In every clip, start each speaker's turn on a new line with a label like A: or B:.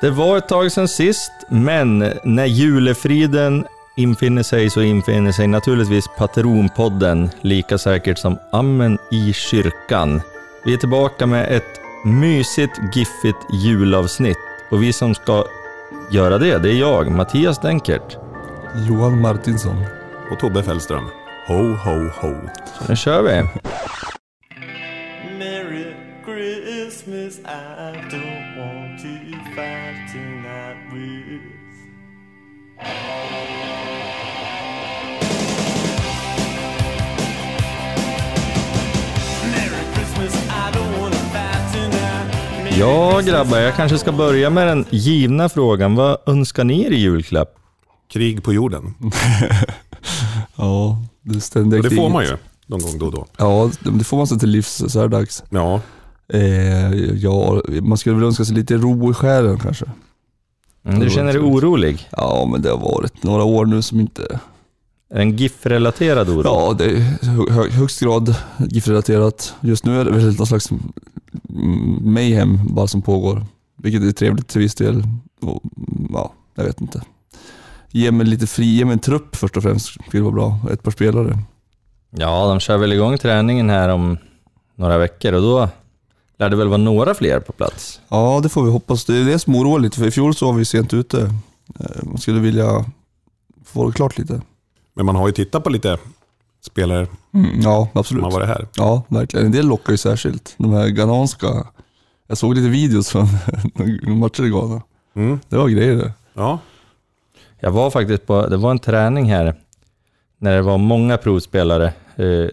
A: Det var ett tag sedan sist, men när julefriden infinner sig så infinner sig naturligtvis Patronpodden lika säkert som Amen i kyrkan. Vi är tillbaka med ett mysigt, giffigt julavsnitt och vi som ska göra det, det är jag, Mattias Denkert.
B: Johan Martinsson.
C: Och Tobbe Fällström. Ho, ho, ho.
A: Nu kör vi!
D: Merry Christmas, I don't want to fight tonight with. Merry Christmas, I don't want to fight tonight. Merry
A: Ja
D: Christmas,
A: grabbar, jag kanske ska börja med den givna frågan. Vad önskar ni er i julklapp?
C: Krig på jorden.
B: Ja, det ständiga
C: Och det får
B: kriget.
C: man ju någon gång då och då.
B: Ja, det får man sig till livs så här dags.
C: Ja,
B: Eh, ja, man skulle väl önska sig lite ro i själen kanske.
A: Mm, du känner dig orolig?
B: Ja, men det har varit några år nu som inte...
A: En GIF-relaterad oro?
B: Ja, det är hö- hö- högst grad GIF-relaterat. Just nu är det väl någon slags mm, mayhem bara som pågår. Vilket är trevligt till viss del. Och, mm, ja, jag vet inte. Ge mig lite fri, ge mig en trupp först och främst skulle vara bra. Ett par spelare.
A: Ja, de kör väl igång träningen här om några veckor och då lär det väl vara några fler på plats.
B: Ja, det får vi hoppas. Det är det som oroar lite, för i fjol så var vi sent ute. Eh, Man skulle vilja få det klart lite.
C: men man har ju tittat på lite spelare
A: Mm.
B: Ja,
C: som
B: absolut.
C: har varit här.
B: Ja, verkligen. En del lockar ju särskilt. De här ghananska. Jag såg lite videos från matcher i Ghana.
C: Mm.
B: Det var grejer det.
C: Ja,
A: Jag var faktiskt på, det var en träning här när det var många provspelare. Eh,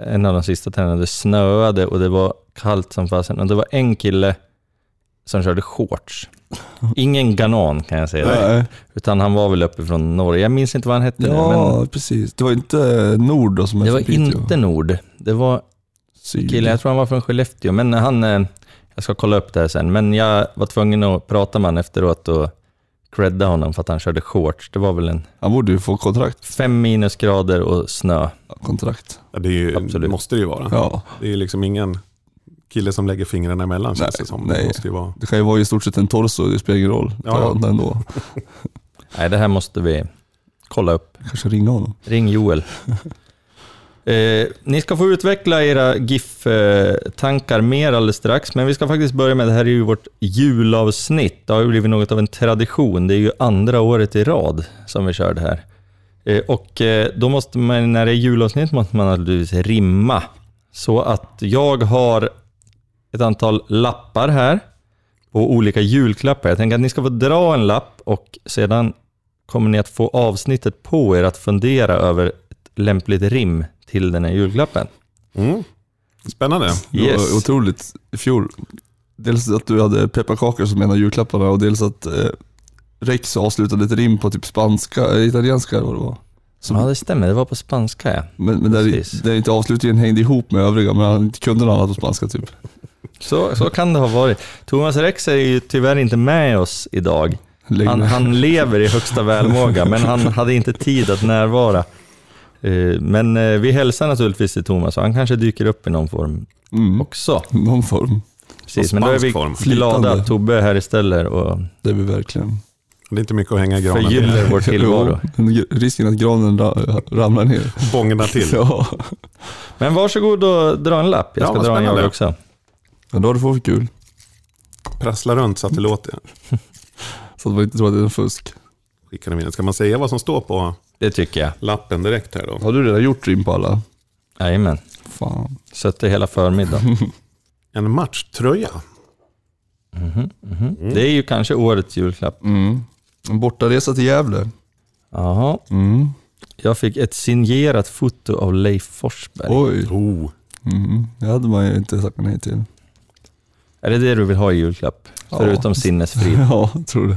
A: en av de sista träningarna, det snöade och det var kallt som fasen. Och det var en kille som körde shorts. Ingen ganan kan jag säga. Det.
B: Nej.
A: Utan han var väl uppifrån Norge. Jag minns inte vad han hette
B: Ja,
A: nu,
B: precis. Det var inte Nord då som
A: men det
B: är
A: var
B: från Piteå.
A: inte Nord. Det var
B: Syd.
A: kille, jag tror han var från Skellefteå, men han, eh, jag ska kolla upp det här sen, men jag var tvungen att prata med honom efteråt och credda honom för att han körde shorts. Det var väl en
B: Han borde ju få kontrakt.
A: fem minusgrader och snö.
B: Ja, Kontrakt.
C: det är ju,
A: Absolut.
C: måste det ju vara.
B: Ja.
C: Det är liksom ingen kille som lägger fingrarna emellan känns
B: Nej,
C: det som.
B: nej.
C: Det måste ju vara...
B: Det kan ju vara i stort sett en torso, det spelar ingen roll.
C: Ja, ja.
B: Ta den ändå.
A: Nej, det här måste vi kolla upp.
B: Kanske ringa honom.
A: Ring Joel. Eh, ni ska få utveckla era GIF-tankar mer alldeles strax, men vi ska faktiskt börja med, det här är ju vårt julavsnitt. Det har ju blivit något av en tradition. Det är ju andra året i rad som vi kör det här. Eh, och eh, då måste man, när det är julavsnitt, måste man naturligtvis rimma. Så att jag har ett antal lappar här på olika julklappar. Jag tänker att ni ska få dra en lapp och sedan kommer ni att få avsnittet på er att fundera över ett lämpligt rim till den här julklappen.
C: Mm. Spännande.
A: Yes.
B: Det var otroligt i fjol. Dels att du hade pepparkakor som en av julklapparna och dels att eh, Rex avslutade ett rim på typ spanska, eh, italienska eller vad det var. Som,
C: Mm.
A: Ja, det stämmer. Det var på spanska, ja.
B: men men
A: precis.
B: där, där inte avslutningen hängde ihop med övriga, men han inte kunde något annat på spanska typ.
A: Så, så kan det ha varit. Thomas Rex är ju tyvärr inte med oss idag.
B: Längre.
A: Han, han lever i högsta välmåga, men han hade inte tid att närvara. Eh, Men eh, vi hälsar naturligtvis till Thomas och han kanske dyker upp i någon form
B: Mm,
A: också.
B: någon form,
A: Precis,
C: På
A: men då är vi
C: spansk form.
A: glada
B: Flytande.
A: att Tobbe är här istället och
B: det är vi verkligen.
C: Det är inte mycket att hänga i granen
A: förgyller
C: med.
A: vår tillvaro.
B: Jo, men Risken att granen ra- ramlar ner.
C: Bångarna till.
B: Ja.
A: Men varsågod och dra en lapp. Jag
C: Ja,
A: ska
C: vad
A: dra en jag
C: spännande.
A: också.
B: ja, då har du fått kul.
C: Prassla runt så att det låter.
B: Så att man inte tror att det är en fusk.
C: Skickar dem in. Ska man säga vad som står på
A: Det tycker jag.
C: lappen direkt här då?
B: Har du redan gjort rim på alla?
A: Jajamän.
B: Fan.
A: Suttit hela förmiddagen.
C: En matchtröja.
A: Det är ju kanske årets julklapp.
B: Mm. En bortaresa till Gävle.
A: Jaha.
B: Mm.
A: Jag fick ett signerat foto av Leif Forsberg.
B: Oj.
C: Oh.
B: Mm, det hade man ju inte sagt nej till.
A: Är det det du vill ha i julklapp?
B: Ja.
A: Förutom sinnesfrid.
B: Ja, jag tror det.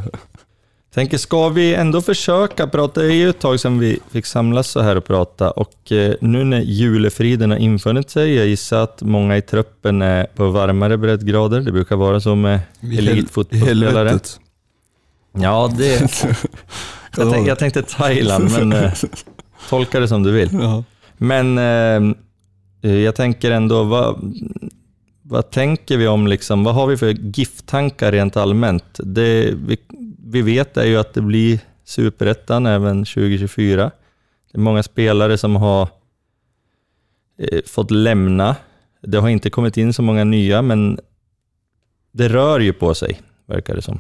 A: Tänker, ska vi ändå försöka prata? Det är ju ett tag sedan vi fick samlas så här och prata och eh, nu när julefriden har infunnit sig, jag gissar att många i truppen är på varmare breddgrader. Det brukar vara så med elitfotbollsspelare. Ja, det... Jag tänkte, jag tänkte Thailand, men eh, tolka det som du vill.
B: Ja.
A: eh, Men eh, jag tänker ändå, vad, vad tänker vi om, liksom, vad har vi för GIF-tankar rent allmänt? Det, vi, vi vet är ju att det blir superettan även 2024. Det är många spelare som har eh, fått lämna. Det har inte kommit in så många nya, men det rör ju på sig, verkar det som.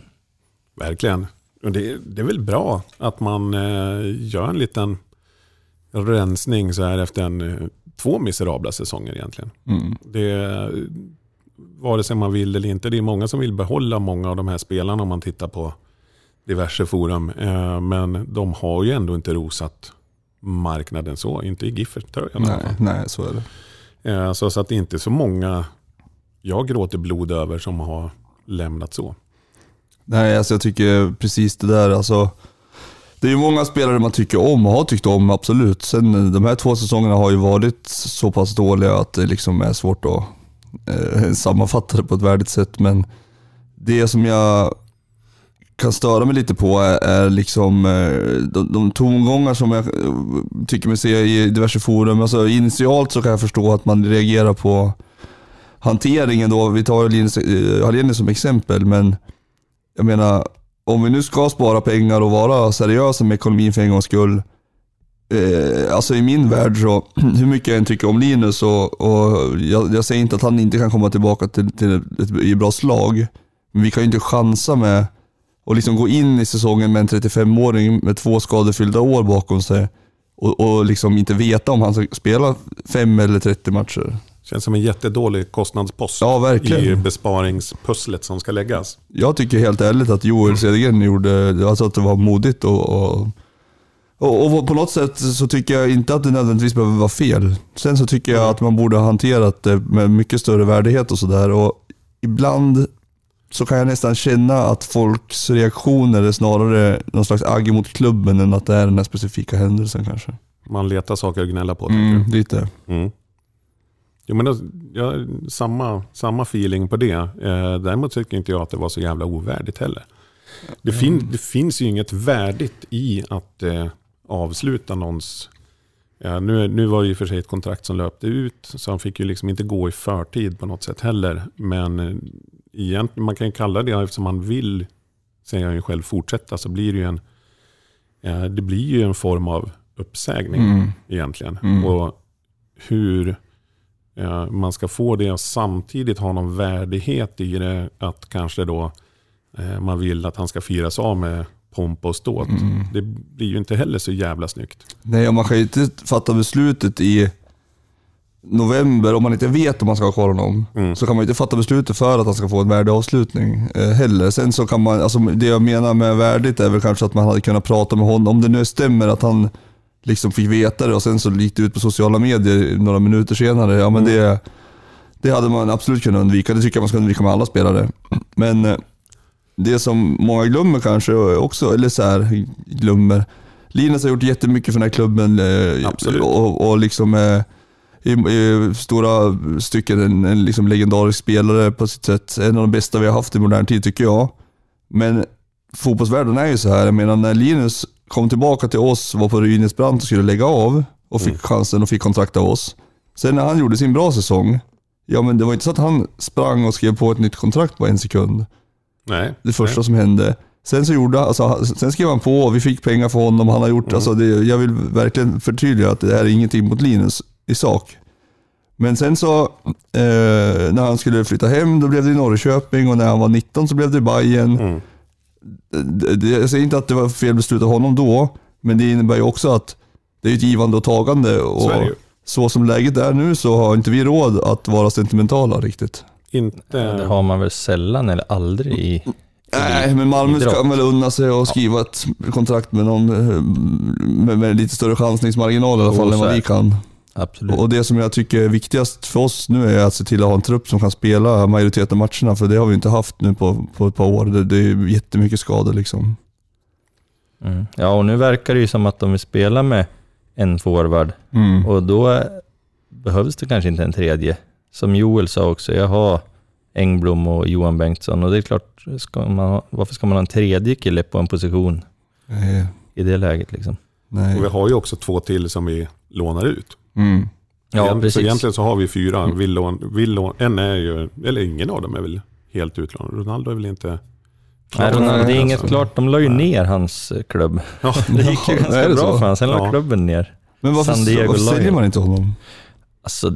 C: Verkligen. Och det, det är väl bra att man eh, gör en liten rensning så här efter en, eh, två miserabla säsonger egentligen.
B: Mm.
C: Det, vare sig man vill eller inte, det är många som vill behålla många av de här spelarna om man tittar på diverse forum. Eh, Men de har ju ändå inte rosat marknaden så, inte i Giffert-tröjan i alla
B: Nej,
C: fall.
B: nej, så är det.
C: Eh, Så, så att det är inte så många jag gråter blod över som har lämnat så.
B: Nej, alltså jag tycker precis det där. Alltså, det är ju många spelare man tycker om och har tyckt om, absolut. Sen de här två säsongerna har ju varit så pass dåliga att det liksom är svårt att eh, sammanfatta det på ett värdigt sätt. Men det som jag kan störa mig lite på är, är liksom eh, de, de tongångar som jag eh, tycker mig se i diverse forum. Alltså initialt så kan jag förstå att man reagerar på hanteringen då. Vi tar Linus, eh, Hallenius som exempel, men jag menar, om vi nu ska spara pengar och vara seriösa med ekonomin för en gångs skull. Eh, alltså i min värld så, hur mycket jag än tycker om Linus och, och jag, jag säger inte att han inte kan komma tillbaka till, till ett, i bra slag. Men vi kan ju inte chansa med att liksom gå in i säsongen med en 35-åring med två skadefyllda år bakom sig och, och liksom inte veta om han ska spela fem eller 30 matcher.
C: Känns som en jättedålig kostnadspost
B: Ja, verkligen.
C: i besparingspusslet som ska läggas.
B: Jag tycker helt ärligt att Joel Cedergren gjorde, alltså att det var modigt och, och, och, och på något sätt så tycker jag inte att det nödvändigtvis behöver vara fel. Sen så tycker jag att man borde ha hanterat det med mycket större värdighet och sådär. Och ibland så kan jag nästan känna att folks reaktioner är snarare någon slags agg mot klubben än att det är den här specifika händelsen kanske.
C: Man letar saker att gnälla på. tänker
B: Mm, lite.
C: du? Mm. Jo, men då, jag, samma, samma feeling på det. Eh, däremot tycker inte jag att det var så jävla ovärdigt heller. Det, fin, det finns ju inget värdigt i att eh, avsluta någons... Ja, nu, nu var det ju för sig ett kontrakt som löpte ut, så han fick ju liksom inte gå i förtid på något sätt heller. Men eh, egentligen, man kan ju kalla det, eftersom han vill, säger han ju själv, fortsätta, så blir det ju en, eh, det blir ju en form av uppsägning
B: Mm.
C: egentligen.
A: Mm.
C: Och hur eh, man ska få det och samtidigt ha någon värdighet i det. Att kanske då eh, man vill att han ska firas av med pompa och ståt.
A: Mm.
C: Det blir ju inte heller så jävla snyggt.
B: Nej, och man kan ju inte fatta beslutet i november om man inte vet om man ska ha kvar honom. Så kan man ju inte fatta beslutet för att han ska få en värdig avslutning eh, heller. Sen så kan man, alltså det jag menar med värdigt är väl kanske att man hade kunnat prata med honom. Om det nu stämmer att han liksom fick veta det och sen så gick det ut på sociala medier några minuter senare. Ja men det, det hade man absolut kunnat undvika. Det tycker jag man ska undvika med alla spelare. Men eh, det som många glömmer kanske också, eller så här, glömmer. Linus har gjort jättemycket för den här klubben eh,
C: Absolut.
B: och, och liksom eh, i, i stora stycken en, en liksom legendarisk spelare på sitt sätt. En av de bästa vi har haft i modern tid tycker jag. Men fotbollsvärlden är ju så här. Jag menar när Linus kom tillbaka till oss, var på ruinens brant och skulle lägga av och fick chansen och fick kontrakt av oss. Sen när han gjorde sin bra säsong, ja men det var inte så att han sprang och skrev på ett nytt kontrakt på en sekund
C: Nej.
B: det första som hände. Sen, så gjorde, alltså, han- sen skrev han på och vi fick pengar för honom. Han har gjort,
C: Mm.
B: alltså, det, jag vill verkligen förtydliga att det här är ingenting mot Linus i sak. Men sen så, eh, när han skulle flytta hem, då blev det Norrköping och när han var 19 så blev det Bayern.
C: Mm.
B: Det- det- Jag säger inte att det var fel beslut av honom då, men det innebär ju också att det är ett givande och tagande.
C: Så
B: Och
C: är det ju.
B: så som läget är nu så har inte vi råd att vara sentimentala riktigt.
A: Det
C: Inte...
A: har man väl sällan eller aldrig i...
B: Nej, Eh, men Malmö
A: idrott.
B: ska väl unna sig att skriva ett kontrakt med någon eh, med, med lite större chansningsmarginal i alla fall
A: Jo,
B: än
A: så
B: vad
A: är
B: vi
A: det.
B: kan.
A: Absolut.
B: Och det som jag tycker är viktigast för oss nu är att se till att ha en trupp som kan spela majoriteten av matcherna, för det har vi inte haft nu på, på ett par år. Det, det är ju jättemycket skador liksom.
A: Mm. Ja, och nu verkar det ju som att de vill spela med en forward
B: Mm.
A: och då eh, behövs det kanske inte en tredje. Som Joel sa också, jag har Engblom och Johan Bengtsson och det är klart, ska man, ha- varför ska man ha en tredje kille på en position
B: Nej.
A: i det läget liksom?
B: eh, Nej.
C: Och vi har ju också två till som vi lånar ut.
B: Mm.
A: Ja,
C: Egent- så
A: precis. Mm.
C: egentligen så har vi fyra. Villon, Villon, en är ju, eller ingen av dem är väl helt utlånad. Ronaldo är väl inte...
A: Nej, Ronaldo, det är inget
C: Alltså.
A: klart. De la ju ner hans eh, klubb.
C: Ja,
A: Det gick ju
B: Ja,
A: ganska
B: är det
A: bra
B: så?
A: för honom. Sen la
C: Ja.
A: klubben ner.
B: Men
A: San
B: varför,
A: Diego
B: varför säljer
A: Lion.
B: man inte honom?
A: Alltså,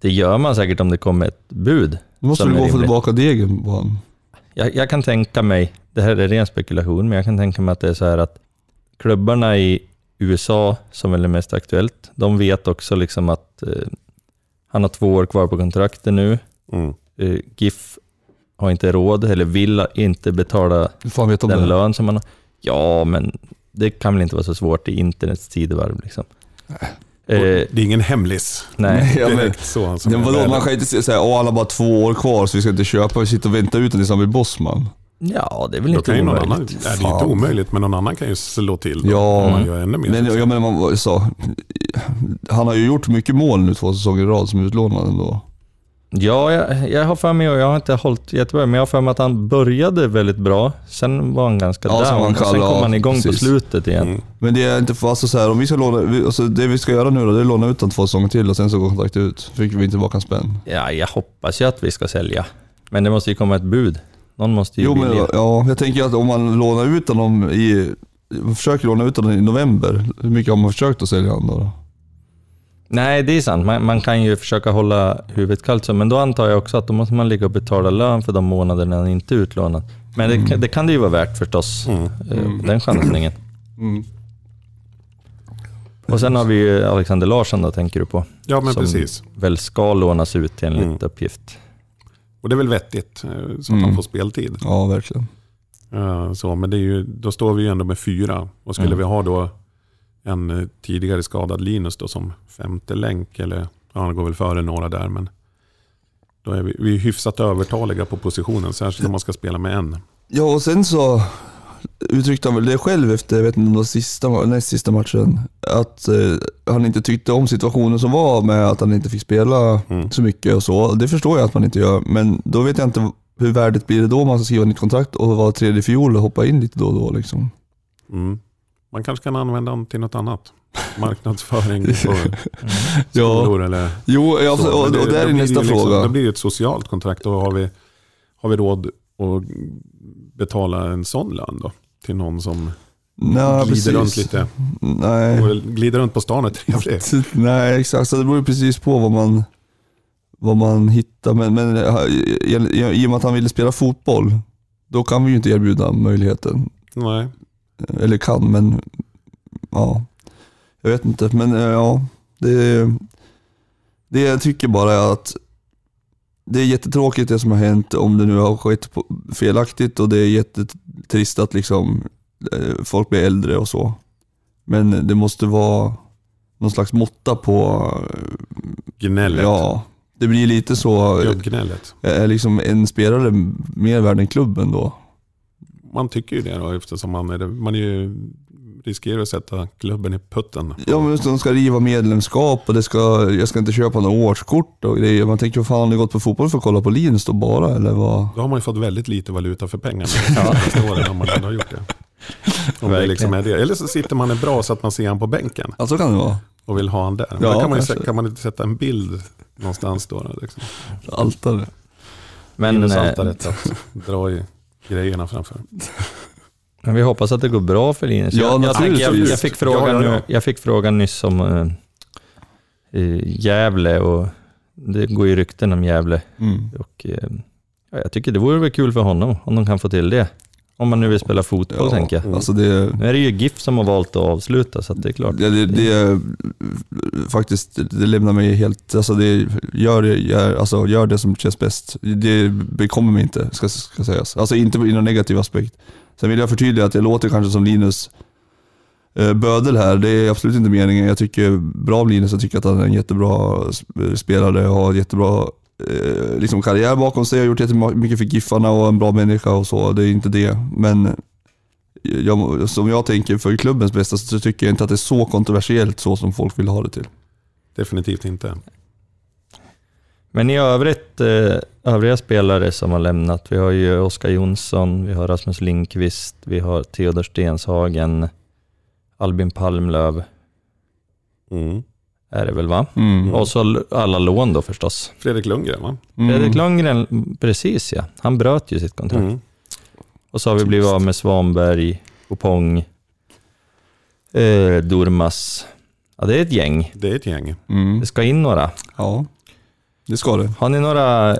A: det gör man säkert om det kommer ett bud.
B: Då måste
A: Som
B: du
A: är
B: gå och få
A: rimligt.
B: tillbaka degen på honom.
A: Jag, jag kan tänka mig, det här är ren spekulation, men jag kan tänka mig att det är så här att klubbarna i USA, som väl är mest aktuellt, de vet också liksom att eh, han har två år kvar på kontraktet nu.
C: mm.
A: Eh, GIF har inte råd, eller vill inte betala
B: Hur fan vet de
A: den
B: det?
A: lön som man har. Ja, men det kan väl inte vara så svårt i internets tidevarv. Liksom. Eh,
C: Det är ingen hemlis.
A: nej.
B: Ja, men-
C: Direkt så. Alltså,
B: Men vadå, man kan inte se- säga åh han har bara två år kvar så vi ska inte köpa, vi sitter och väntar ut den tills han blir bossman.
A: Ja, det är väl
C: Då kan
A: inte
C: ju någon annan,
A: omöjligt.
C: nej, det är ju inte
B: Fan.
C: omöjligt, men någon annan kan ju slå till. Då,
B: Ja. Mm.
C: om man gör ännu mer.
B: Men jag menar, man, så, han har ju gjort mycket mål nu två säsonger i rad som utlånad ändå.
A: Ja, jag, jag har för mig, och jag har inte hållit jättebra, men jag har för mig att han började väldigt bra. Sen var han ganska
B: Ja, sen var
A: down,
B: han
A: och sen
B: kall,
A: kom
B: ja,
A: han igång på
B: precis.
A: slutet igen.
C: Mm.
B: Men det är inte för, alltså så här, om vi ska låna, vi, alltså det vi ska göra nu då, det är att låna ut den två säsonger till och sen så går kontraktet ut. Fick vi inte tillbaka en spänn.
A: Ja, jag hoppas ju att vi ska sälja, men det måste ju komma ett bud. Någon måste ju
B: Jo men
A: vilja.
B: ja, jag tänker att om man lånar ut honom i, försöker låna ut honom i november, hur mycket har man försökt att sälja honom då?
A: Nej, det är sant. Man, man kan ju försöka hålla huvudet kallt, så, men då antar jag också att då måste man ligga och betala lön för de månader när han inte är utlånad. Men det, kan- det kan det ju vara värt förstås,
C: Mm.
A: eh, den chansningen.
B: Mm.
A: Och sen har vi ju Alexander Larsson då, tänker du på,
C: Ja, men
A: Som-
C: precis.
A: väl ska lånas ut enligt
C: Mm.
A: uppgift.
C: Och det är väl vettigt, eh, så att
B: Mm.
C: han får speltid.
B: Ja verkligen.
C: Eh, Så, men det är ju, då står vi ju ändå med fyra. Och skulle
A: Mm.
C: vi ha då en eh, tidigare skadad Linus då som femte länk, eller ja, han går väl före några där, men då är vi, vi är hyfsat övertaliga på positionen, särskilt om man ska spela med en.
B: Ja och sen så uttryckte han väl det själv efter, jag vet inte om det var sista, näst sista matchen, att eh, han inte tyckte om situationen som var med att han inte fick spela
C: Mm.
B: så mycket och så. Det förstår jag att man inte gör, men då vet jag inte hur värdet blir det då om man ska skriva nytt kontrakt och vara tredje fiol och hoppa in lite då och då liksom.
C: Mm. Man kanske kan använda den till något annat. Marknadsföring på skolor eller
B: Jo, ja, alltså,
C: Så,
B: och,
C: men
B: och det är
C: då
B: ju
C: blir
B: nästa
C: det ju liksom-
B: fråga.
C: Då blir det ett socialt kontrakt. Då har vi, har vi råd att betala en sån lön då? Till någon som
B: Nej,
C: glider
B: precis.
C: runt lite.
B: Nej.
C: Och glider runt på stan är trevligt.
B: Nej, exakt. Så det beror ju precis på vad man, vad man hittar. Men, men eh, i, i, i och med att han ville spela fotboll, då kan vi ju inte erbjuda möjligheten.
C: Nej.
B: Eh, Eller kan, men ja. Jag vet inte, men eh, ja. Det, det jag tycker bara är att det är jättetråkigt det som har hänt, om det nu har skett på, felaktigt och det är jättetrist att liksom eh, folk blir äldre och så. Men det måste vara någon slags måtta på,
C: Gnället.
B: ja. Det blir lite så, eh,
C: Gubbgnället.
B: är liksom en spelare mer värd än klubben då?
C: Man tycker ju det då eftersom man, är, man är ju riskerar att sätta klubben i putten.
B: Ja men just de ska riva medlemskap och det ska, jag ska inte köpa några årskort och grejer. Man tänker, vad fan har ni gått på fotboll för att kolla på Linus då bara eller vad?
C: Då har man ju fått väldigt lite valuta för pengarna
A: Ja.
C: de senaste åren om man ändå har gjort det. Om det
A: Verkligen.
C: liksom är det. Eller så sitter man är bra så att man ser han på bänken.
B: Ja så kan det vara.
C: och vill ha han där.
B: Ja,
C: Ja, kan, man ju,
B: kanske.
C: sä- kan man inte sätta en bild någonstans då? då, Liksom.
B: Altare.
A: Men,
C: Minus
A: eh,
C: altaret att dra i grejerna framför.
A: Men vi hoppas att det går bra för Linus.
B: Ja,
A: jag, jag, tänker- jag,
B: naturligtvis.
A: jag, fick frågan,
C: Ja, ja, ja.
A: nu- jag fick frågan nyss om eh, eh, Gävle och det går ju rykten om Gävle.
B: Mm.
A: Och, eh, ja, jag tycker det vore väl kul för honom om de kan få till det. Om man nu vill spela fotboll tänker jag.
B: Alltså det,
A: Nu är det ju GIF som har valt att avsluta så att det är klart.
B: det, det, det faktiskt, det lämnar mig helt, alltså det, gör det, gör, alltså gör det som känns bäst. Det bekommer mig inte, ska, ska sägas. Alltså inte i någon negativ aspekt. Sen vill jag förtydliga att jag låter kanske som Linus eh, Bödel här, det är absolut inte meningen. Jag tycker bra om Linus, jag tycker att han är en jättebra sp- spelare och har en jättebra eh, liksom karriär bakom sig. Jag har gjort jättemycket för Giffarna och är en bra människa och så, det är inte det. Men jag, som jag tänker för klubbens bästa så tycker jag inte att det är så kontroversiellt så som folk vill ha det till.
C: Definitivt inte.
A: Men i övrigt, eh, övriga spelare som har lämnat, vi har ju Oskar Jonsson, vi har Rasmus Linkvist, vi har Theodor Stenshagen, Albin Palmlöv.
C: Mm.
A: är det väl va?
B: Mm.
A: Och så l- alla lån då förstås.
C: Fredrik Lundgren va?
A: Fredrik Lundgren, precis ja. Han bröt ju sitt kontrakt.
C: Mm.
A: Och så har vi blivit av med Svanberg, Opong, eh, Durmas. Ja, det är ett gäng.
C: Det är ett gäng.
B: Mm.
A: Det ska in några.
B: Ja, det ska det.
A: Har ni några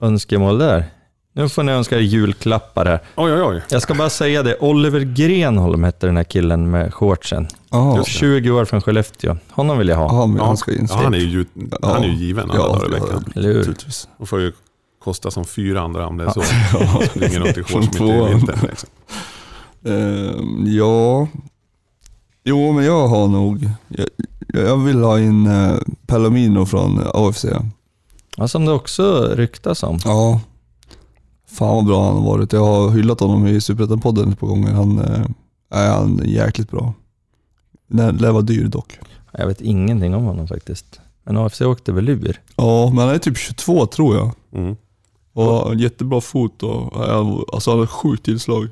A: önskemål där? Nu får ni önska er julklappar här.
C: Oj, oj, oj.
A: Jag ska bara säga det, Oliver Grenholm hette den här killen med shortsen.
B: Ja,
A: 20 år från Skellefteå. Honom vill jag ha.
B: Aha, men
C: Ja.
B: han ska in.
C: Ja, han, är ju, han är ju given alla dagar i veckan.
A: Eller hur?
B: naturligtvis.
C: Och får ju kosta som fyra andra om det är så.
B: Ja.
C: Springer runt i shorts mitt i
B: Två.
C: vintern. Liksom.
B: Ehm, ja, jo men jag har nog, jag, jag vill ha in eh, Palomino från AFC.
A: Ja, som det också ryktas om.
B: Ja, fan vad bra han har varit. Jag har hyllat honom i Superettan-podden ett par gånger. Han, eh, är han är jäkligt bra. Lär lär vara dyr dock.
A: Jag vet ingenting om honom faktiskt. Men AFC åkte väl ur?
B: Ja, men han är typ 22 tror jag.
C: Mm.
B: Och har en jättebra fot och ja, alltså han har sjukt tillslag.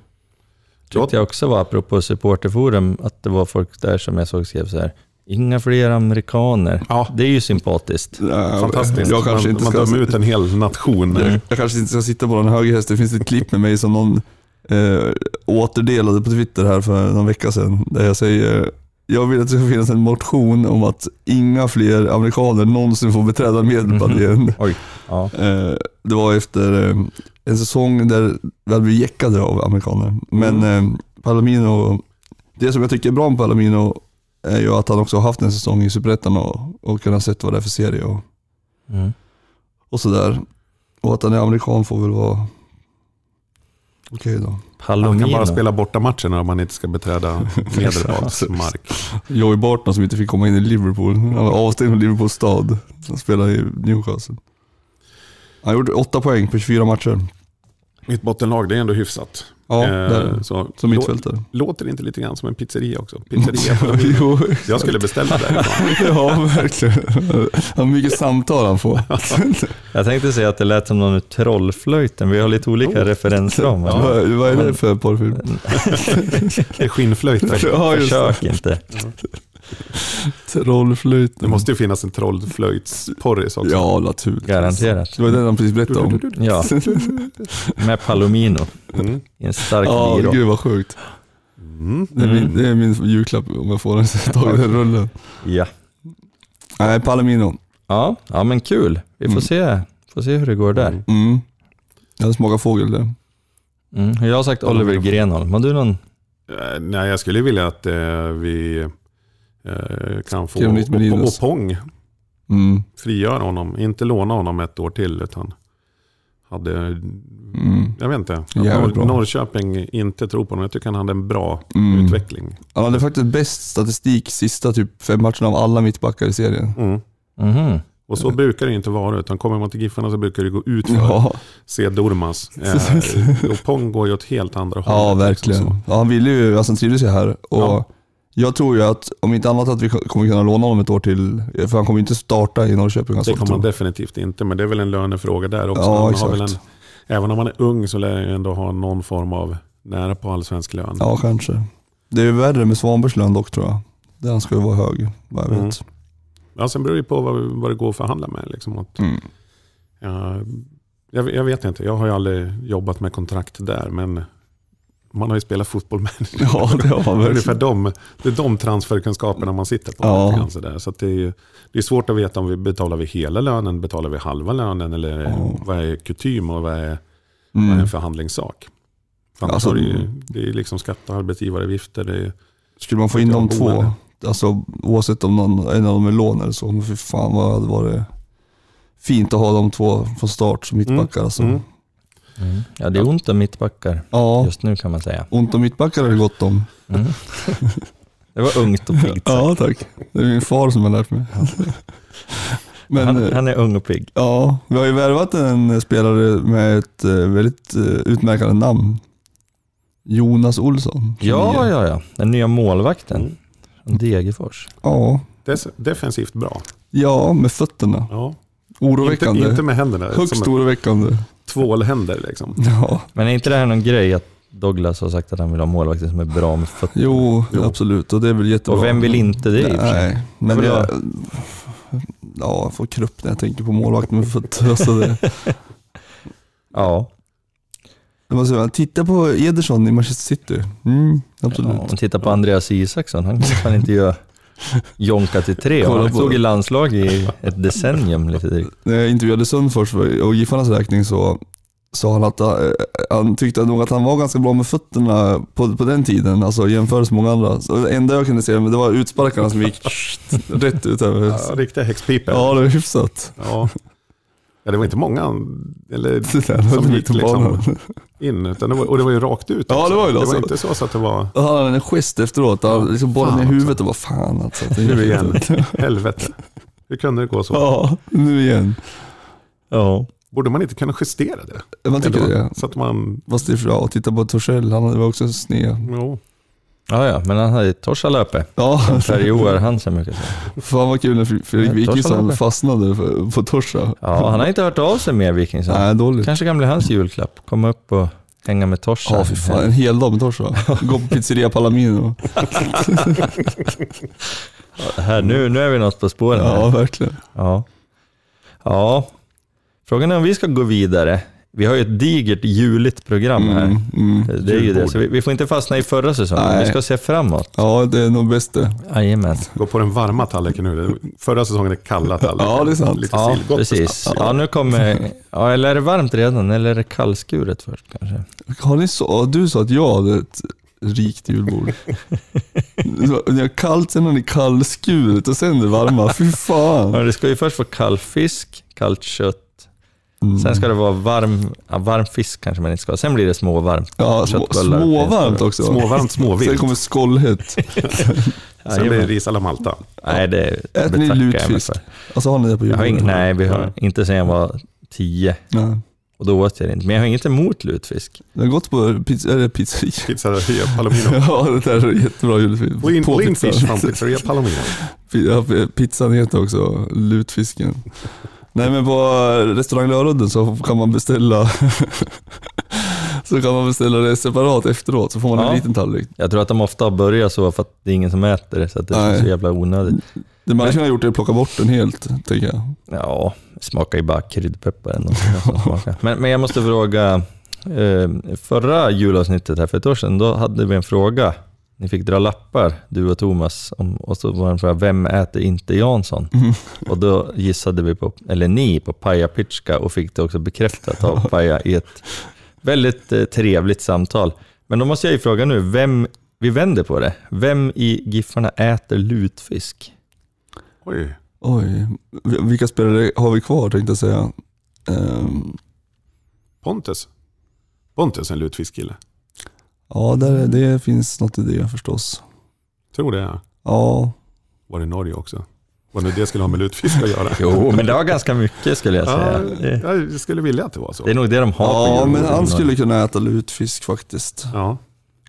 A: Tyckte jag också var, apropå supporterforum, att det var folk där som jag såg skrev så här. Inga fler amerikaner.
C: Ja,
A: Det är ju sympatiskt.
C: fantastiskt.
B: Jag kanske
C: man
B: inte
C: man
B: ska Mm.
C: dömer ut en hel nation.
B: Jag, jag kanske inte ska sitta på den höger häst. Det finns ett klipp med mig som någon eh, återdelade på Twitter här för någon vecka sedan. Där jag säger, jag vill att det ska finnas en motion om att inga fler amerikaner någonsin får beträda Medelpad igen.
A: Oj. Ja.
B: Eh, det var efter eh, en säsong där vi hade blivit jäckade av amerikaner. Men eh, Palomino, det som jag tycker är bra med Palomino är ju att han också har haft en säsong i Superettan och, och kunnat sett vad det är för serie. Och,
A: Mm.
B: och sådär. Och att han är amerikan får väl vara okej då.
A: Palomino.
C: Man kan bara spela borta matcherna om man inte ska beträda Medelpads mark.
B: Joey Barton som inte fick komma in i Liverpool. Han var avstängd från Liverpool stad. Han spelade i Newcastle. Han gjorde åtta poäng på 24 matcher.
C: Mitt bottenlag, det är ändå hyfsat.
B: Ja,
C: Eh,
B: där.
C: så
B: Som
C: lå-
B: mittfältare.
C: Låter det inte lite grann som en pizzeria också? Pizzeria.
B: jo,
C: Jag skulle beställa därifrån.
B: ja verkligen. Vad mycket samtal han får.
A: Jag tänkte säga att det lät som någon ur Trollflöjten. Vi har lite olika referensramar.
B: Vad, vad är det för porrfilm?
C: Det är Skinnflöjten.
B: Ja, just det.
A: Försök inte.
B: Trollflöjt.
C: Det måste ju finnas en trollflöjtsporris också.
B: Ja, naturligtvis.
A: Garanterat.
B: Det var den han precis berättade om.
A: Ja. Med Palomino.
C: Mm.
A: I en stark
B: Ja,
A: biro.
B: gud vad sjukt.
C: Mm.
B: Det är, min, det är min julklapp om jag får den, tag i den rullen.
A: Ja.
B: Nej, Palomino.
A: Ja. ja, men kul. Vi får,
B: Mm.
A: se. får se hur det går där.
B: Mm. Jag smakar fågel det.
A: Mm. Jag har sagt Oliver Grenholm. Har du någon?
C: Eh, Nej, jag skulle vilja att eh, vi eh, kan få
B: Skriv nytt med
C: Op-
B: Linus.
C: Opong
B: Mm.
C: frigöra honom. Inte låna honom ett år till, utan hade,
B: Mm.
C: jag vet inte. Att
B: Jävligt
C: Nor-
B: bra.
C: Norrköping inte tror på honom. Jag tycker han hade en bra
B: Mm.
C: utveckling.
B: Han hade faktiskt bäst statistik sista typ fem matcherna av alla mittbackar i serien.
C: Mm.
A: Mhm.
C: Och så brukar det inte vara, utan kommer man till Giffarna så brukar det gå ut för
B: Ja,
C: se Dormas. Eh, Opong går ju åt helt andra
B: ja
C: hållet.
B: verkligen.
C: liksom
B: Ja, han ville ju, alltså han trivdes ju här. Och
C: Ja.
B: Jag tror ju att, om inte annat att vi kommer kunna låna honom ett år till. För han kommer inte starta i Norrköping.
C: så.
B: Alltså,
C: Det kommer man definitivt inte, men det är väl en lönefråga där också.
B: Ja,
C: man har
B: exakt.
C: väl en, även om man är ung så lär jag ändå ha någon form av nära på allsvensk lön.
B: Ja, kanske. Det är ju värre med Svanbergs lön dock tror jag. Den ska ju vara hög, vad jag
C: Mm.
B: vet.
C: Ja, sen beror det på vad, vad det går att förhandla med. Liksom. Att,
B: Mm.
C: ja, jag, jag vet inte, jag har ju aldrig jobbat med kontrakt där, men man har ju spelat fotboll med
B: Ja, det har man
C: Det är ungefär
B: verkligen.
C: de, det är de transferkunskaperna man sitter på.
B: Ja.
C: lite grann sådär. Så att det, är, ju- det är svårt att veta om vi betalar vi hela lönen, betalar vi halva lönen eller
B: Ja.
C: vad är kutym och vad är, vad är
B: Mm.
C: en förhandlingssak. För annars
B: Alltså-
C: har det, ju, det är liksom skatt och arbetsgivaravgifter. Det är,
B: Skulle man få in
C: Tycker
B: de
C: de borde
B: två, alltså, oavsett om någon, en av dem är lån eller så, men fy fan vad det hade varit fint att ha de två från start som mittbackar. Alltså.
C: mm.
A: Mm. Ja, det är ont om mittbackar
B: Ja,
A: just nu kan man säga.
B: ont om mittbackar är det gott om.
A: Mm. Det var ungt och piggt.
B: Ja, tack. Det är min far som har lärt mig. Men,
A: Han,
B: eh,
A: han är ung och pigg.
B: Ja, vi har ju värvat en spelare med ett eh, väldigt eh, utmärkande namn. Jonas Olsson.
A: Ja, ja, ja. Den nya målvakten.
C: Mm.
A: Från Degerfors.
B: Ja,
C: dess- defensivt bra.
B: ja med fötterna.
C: Ja. Inte,
B: Oroväckande.
C: inte med händerna,
B: Högst
C: som
B: oroväckande.
C: tvålhänder. Liksom.
B: Ja.
A: Men är inte det här någon grej att Douglas har sagt att han vill ha målvakter som är bra med fötterna.
B: Jo,
C: Jo.
B: absolut. Och det är väl jättebra.
A: Och vem vill inte det i och för sig?
B: Nej, men
A: Vill
B: jag...
A: jag-
B: Ja, jag får krupp när jag tänker på målvakt med fötter. Alltså det.
A: Ja,
B: Jag måste säga, titta på Ederson i Manchester City. Mm, absolut.
A: om man tittar på Andreas Isaksson, han kan fan inte göra jonka till tre.
B: Kolla
A: Han
B: på
A: stod
B: det.
A: i landslag i ett decennium lite drygt.
B: När jag intervjuade Sundfors för- och Giffarnas räkning så sa han att eh, han tyckte nog att han var ganska bra med fötterna på, på den tiden, alltså jämfört med många andra. Så det enda jag kunde se det var utsparkarna som gick rätt ut över
C: Ja, riktiga häxpipor.
B: Ja, det var hyfsat.
C: Ja. ja, det var inte många an- eller,
B: Det där var
C: som
B: lite
C: gick liksom
B: barn.
C: in, utan det var, och det var ju rakt ut
B: Ja,
C: också.
B: det var ju det,
C: det.
B: alltså.
C: var inte så, så att det var
B: Och han hade en gest efteråt, han liksom bollen
C: Fan
B: i
C: också.
B: huvudet och bara fan alltså. Det
C: Nu
B: gick
C: igen.
B: inte.
C: helvete. Hur kunde det gå så?
B: Ja, nu igen.
A: Ja.
C: Borde man inte kunna justera det?
B: Man tycker
C: Eller
B: det.
C: Så att man...
B: Fast det är för ja, och titta på Torssell, han var också sned.
C: Jo.
A: Ja, ja, men han hade Torshälla uppe.
B: Ja,
A: Färg-Joar Hansen brukar jag säga.
B: fan vad kul när Fredrik
A: Ja, Torshäll
B: Wikingsson
A: uppe.
B: fastnade för- på Torsa.
A: Ja, han har inte hört av sig mer, Wikingsson.
B: Nej, dåligt.
A: Kanske kan bli hans julklapp. Komma upp och hänga med Torshäll.
B: Ja, fy fan. En hel dag med torsk va? Gå på pizzeria Palomino.
A: Här, nu, nu är vi något på spåren. här.
B: Ja, verkligen.
A: Ja. ja. Frågan är om vi ska gå vidare. Vi har ju ett digert juligt program här.
B: Mm, mm.
A: Det är ju det, så vi, vi får inte fastna i förra säsongen.
B: Nej.
A: Vi ska se framåt.
B: Ja, det är nog bäst det.
A: Jajamän.
C: Gå på den varma tallriken nu. Det- Förra säsongen är kalla tallriken.
B: Ja, det är sant.
C: Lite
A: Ja,
C: sillgott.
A: precis. Ja, nu kommer... Ja, eller är det varmt redan? Eller är det kallskuret först kanske?
B: Har ni så, du sa att jag hade ett rikt julbord. Så, Ni har kallt, sen har ni kallskuret och sen det varma. Fy
A: Ja,
B: fan.
A: det ska ju först vara kall fisk, kallt kött.
B: Mm.
A: Sen ska det vara varm, ja, varm fisk kanske man inte ska ha. Sen blir det småvarmt.
B: Ja, små,
A: köttbullar
B: småvarmt
A: finns det.
B: också.
C: Småvarmt
B: Sen
C: småvilt.
B: kommer skållhett.
C: Sen blir det
A: Jajamän.
C: ris alla Malta.
A: Nej, det
B: Äter
A: betackar
B: ni
A: jag mig
B: lutfisk?
A: för.
B: Alltså har ni det på
A: Jag har
B: julbordet?
A: ingen, nej, vi har inte sen jag var tio.
B: Nej.
A: Och då åt jag det inte. Men jag har inget emot lutfisk.
B: Jag har gått på pizza, eller pizzeria.
C: Pizzeria Palomino.
B: Ja, det där är jättebra julfilm.
C: Lin,
B: På
C: Lindfish
B: pizzan.
C: från Pizzeria Palomino.
B: Ja, pizzan heter också lutfisken. Nej men på restaurang Lörudden så kan man beställa så kan man beställa det separat efteråt så får man
A: Ja.
B: en liten tallrik.
A: Jag tror att de ofta börjar så för att det är ingen som äter det, så att det
B: Nej.
A: är så jävla onödigt.
B: Det man hade kunnat gjort är att plocka bort den helt, tänker jag.
A: Ja, smakar ju bara kryddpeppar. ändå. som smakar. Men, men jag måste fråga, eh, förra julavsnittet här för ett år sedan, då hade vi en fråga. Ni fick dra lappar, du och Thomas, om, och så var det en fråga, vem äter inte Jansson? Och då gissade vi på, eller ni, på Paja Pitska och fick det också bekräftat av Paja i ett väldigt eh, trevligt samtal. Men då måste jag ju fråga nu, vem, vi vänder på det. Vem i Giffarna äter lutfisk?
C: Oj.
B: Oj, vilka spelare har vi kvar tänkte jag säga. Ehm,
C: Pontus. Pontus är en lutfiskkille.
B: ja,
A: Mm.
B: där, det finns något i det förstås.
C: Tror det. ja.
B: Ja,
C: Var det Norge också? Vad nu det skulle ha med lutfisk att göra.
A: Jo, men det var ganska mycket skulle jag säga.
C: Ja,
A: Det-
C: jag skulle vilja att det var så.
A: Det är nog det de har på
B: ja
A: julbordet.
B: men han skulle kunna äta lutfisk faktiskt.
C: Ja,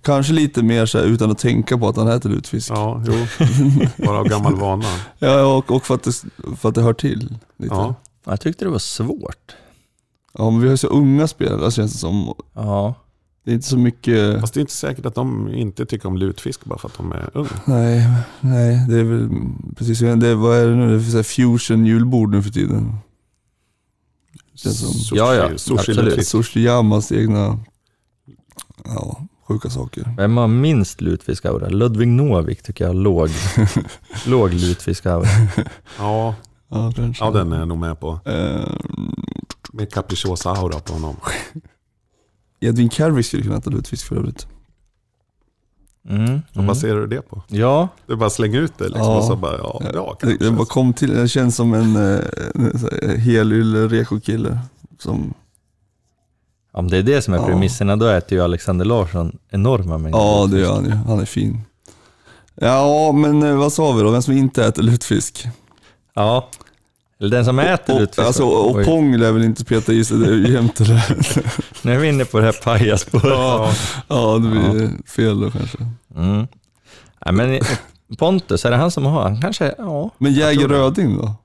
B: Kanske lite mer så här, utan att tänka på att han äter lutfisk.
C: ja jo. Bara av gammal vana.
B: Ja, och, och för, att det, för att det hör till. Lite.
C: Ja.
B: Ja.
A: Jag tyckte det var svårt.
B: men vi har ju så unga spelare känns det som.
A: Ja.
B: Det är inte så mycket...
C: Fast det är inte säkert att de inte tycker om lutfisk bara för att de är unga.
B: Nej, nej, det är väl precis. Det, är- vad är det nu? Det är så här fusion julbord nu för tiden. Känns som-
C: Sushi,
A: Ja, ja,
C: sushi
A: absolut.
C: lutfisk.
B: Source Yamas egna... Ja, sjuka saker.
A: Vem har minst lutfiskaura? Ludvig Novik tycker jag har låg, låg lutfiskaura.
C: Ja,
B: Ja, kanske.
C: ja, den är jag nog med på.
B: Eh,
C: Med capricciosa-aura på honom.
B: Edvin Carrick skulle kunna äta lutfisk för övrigt.
A: Mm, mm.
C: Vad ser du det på?
A: Ja,
C: Du bara slänger ut det liksom
B: Ja.
C: och så bara, ja, ja
B: det,
C: kanske.
B: det bara kom till. Det känns som en, eh, en så här helylle reko-kille. Som,
A: om det är det som är
B: Ja.
A: premisserna, då äter ju Alexander Larsson enorma mängder.
B: Ja, det gör han ju. Han är fin. Ja, men eh, vad sa vi då? Vem som inte äter lutfisk?
A: Ja. Eller den som äter
B: och,
A: lutfisk.
B: alltså, och
A: Oj,
B: Pong lär väl inte peta i sig det jämte det.
A: Nu är vi inne på det här pajaspåret.
B: Ja, ja, det blir fel då kanske.
A: Mm. Ja, men eh, Pontus, är det han som har? Han kanske, ja,
B: Men Jäger Röding då?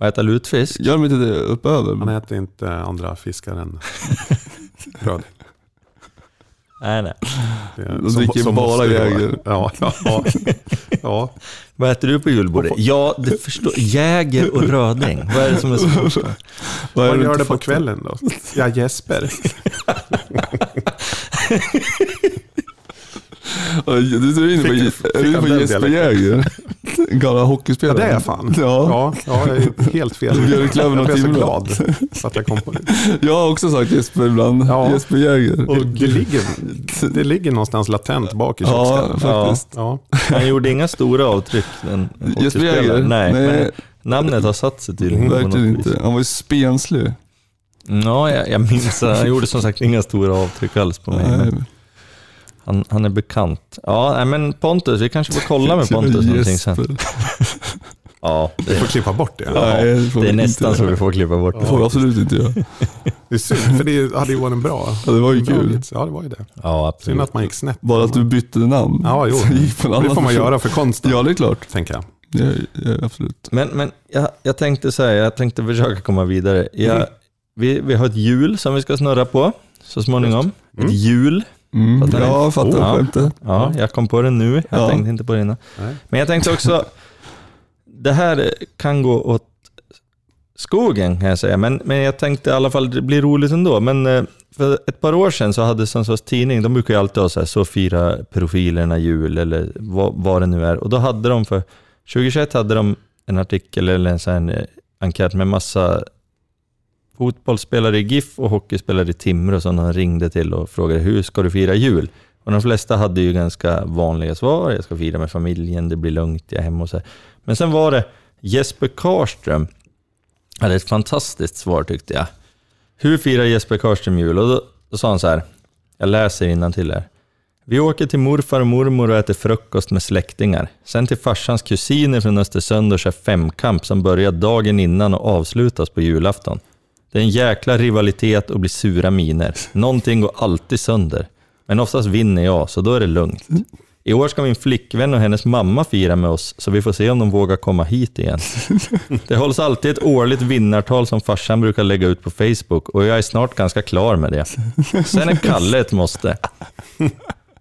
A: och äta lutfisk.
B: Gör de inte det uppöver?
C: Han äter inte andra fiskar än röd.
A: Nej, nej.
C: Det är-
B: De dricker bara
C: måste det vara.
B: Jäger.
C: Ja, ja, ja, ja.
A: Vad äter du på julbordet? Ja, det förstår Jäger och röding. Vad är det som är så
B: Vad är
C: Vad
B: du
C: gör
B: inte
C: du på
B: fattar?
C: kvällen då? Ja, Jesper.
B: Ja, Du du är inne på,
C: Fick-
B: är du inne på
C: fick han den
B: Jesper
C: dialekten?
B: Jäger. Gamla
C: Ja,
B: hockeyspelare.
C: det är jag fan.
B: Ja.
C: ja, ja jag är helt fel.
B: Björklöven och
C: jag blev så
B: Timrå.
C: glad att jag kom på det.
B: Jag har också sagt Jesper ibland.
C: Ja.
B: Jesper Jäger.
C: Och det, ligger, det ligger någonstans latent bak i
B: Ja,
C: köksstället.
B: faktiskt.
C: Ja.
A: Han gjorde inga stora avtryck. Den
B: Jesper
A: hockeyspelaren.
B: Jäger?
A: Nej,
B: Nej.
A: men namnet har satt sig tydligen. på
B: Verkligen
A: något vis.
B: inte. Han var ju spenslö.
A: Ja, jag, jag minns det. Han gjorde som sagt inga stora avtryck alls på mig.
B: Nej,
A: Men han, han är bekant. Ja, nej, men Pontus, vi kanske får kolla med Pontus någonting sen.
B: Jesper.
A: Ja,
C: Du får
A: det,
C: klippa bort det.
A: Ja,
B: Nej, det får
A: det
B: vi
A: är
B: inte
A: nästan
B: göra.
A: så vi får klippa bort
B: Det
A: det.
B: får vi absolut inte göra.
C: Det är synd, för det hade ju varit en bra.
B: Ja, det var ju
C: en bra
B: kul.
C: vits. Ja, det var ju det.
A: Ja,
C: Synd
A: absolut.
C: att man gick snett.
B: Bara att du bytte namn.
C: Ja, jo.
B: Så gick på en
C: Det
B: annan
C: får man
B: person.
C: göra för konsten,
B: Ja, det är klart.
C: tänker jag.
B: Ja, ja, absolut.
A: Men, men jag, jag tänkte så här, jag tänkte försöka komma vidare. Jag,
C: Mm.
A: vi, vi har ett hjul som vi ska snurra på så småningom.
C: Mm.
A: Ett hjul.
B: Mm.
A: Fattar ni?
B: Ja, jag fattar
A: Oh.
B: skämtet.
A: Ja, jag kom på det nu. Jag
B: Mm. Ja.
A: tänkte inte på det innan.
C: Nej.
A: Men jag tänkte också, det här kan gå åt skogen kan jag säga, men, men jag tänkte i alla fall det blir roligt ändå. Men eh, för ett par år sedan så hade Sundsvalls Tidning, de brukar ju alltid ha så här, så firar profilerna jul eller vad, vad det nu är. Och då hade de för 2021 hade de en artikel eller en sån här eh, enkät med massa fotbollsspelare i GIF och hockeyspelare i Timrå som de ringde till och frågade hur ska du fira jul? Och de flesta hade ju ganska vanliga svar. Jag ska fira med familjen, det blir lugnt, jag är hemma och så här. Men sen var det Jesper Karlström. hade ett fantastiskt svar tyckte jag. Hur firar Jesper Karlström jul? Och då, då sa han så här, jag läser till här. Vi åker till morfar och mormor och äter frukost med släktingar. Sen till farsans kusiner från Östersund och kör femkamp som börjar dagen innan och avslutas på julafton. Det är en jäkla rivalitet och blir sura miner. Någonting går alltid sönder. Men oftast vinner jag, så då är det lugnt. I år ska min flickvän och hennes mamma fira med oss, så vi får se om de vågar komma hit igen. Det hålls alltid ett årligt vinnartal som farsan brukar lägga ut på Facebook och jag är snart ganska klar med det. Sen är Kalle ett måste.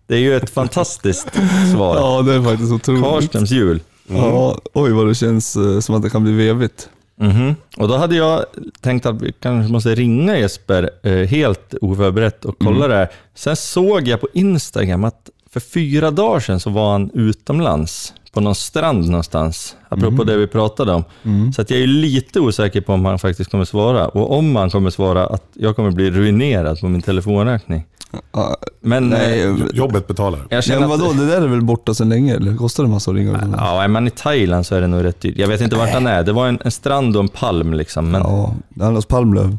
A: Det är ju ett fantastiskt svar.
B: Ja, det är faktiskt otroligt.
A: Karlströms jul.
B: Ja, oj vad det känns eh, som att det kan bli vevigt.
A: Mhm. Och då hade jag tänkt att vi kanske måste ringa Jesper eh, helt oförberett och kolla
B: Mm.
A: det här. Sen såg jag på Instagram att för fyra dagar sedan så var han utomlands på någon strand någonstans, apropå
B: Mm.
A: det vi pratade om. Så att jag är lite osäker på om han faktiskt kommer svara och om han kommer svara att jag kommer bli ruinerad på min telefonräkning.
B: Ah,
A: Men
B: nej,
A: eh,
C: Jobbet betalar.
A: jag känner
B: men vadå,
A: att...
B: det där är väl borta sedan länge eller? Kostar det massa att ringa? Ja,
A: Ja, är man i Thailand så är det nog rätt dyrt. Jag vet inte vart han är. Det var en, en strand och en palm liksom. Men
B: ja annars Palmlöv.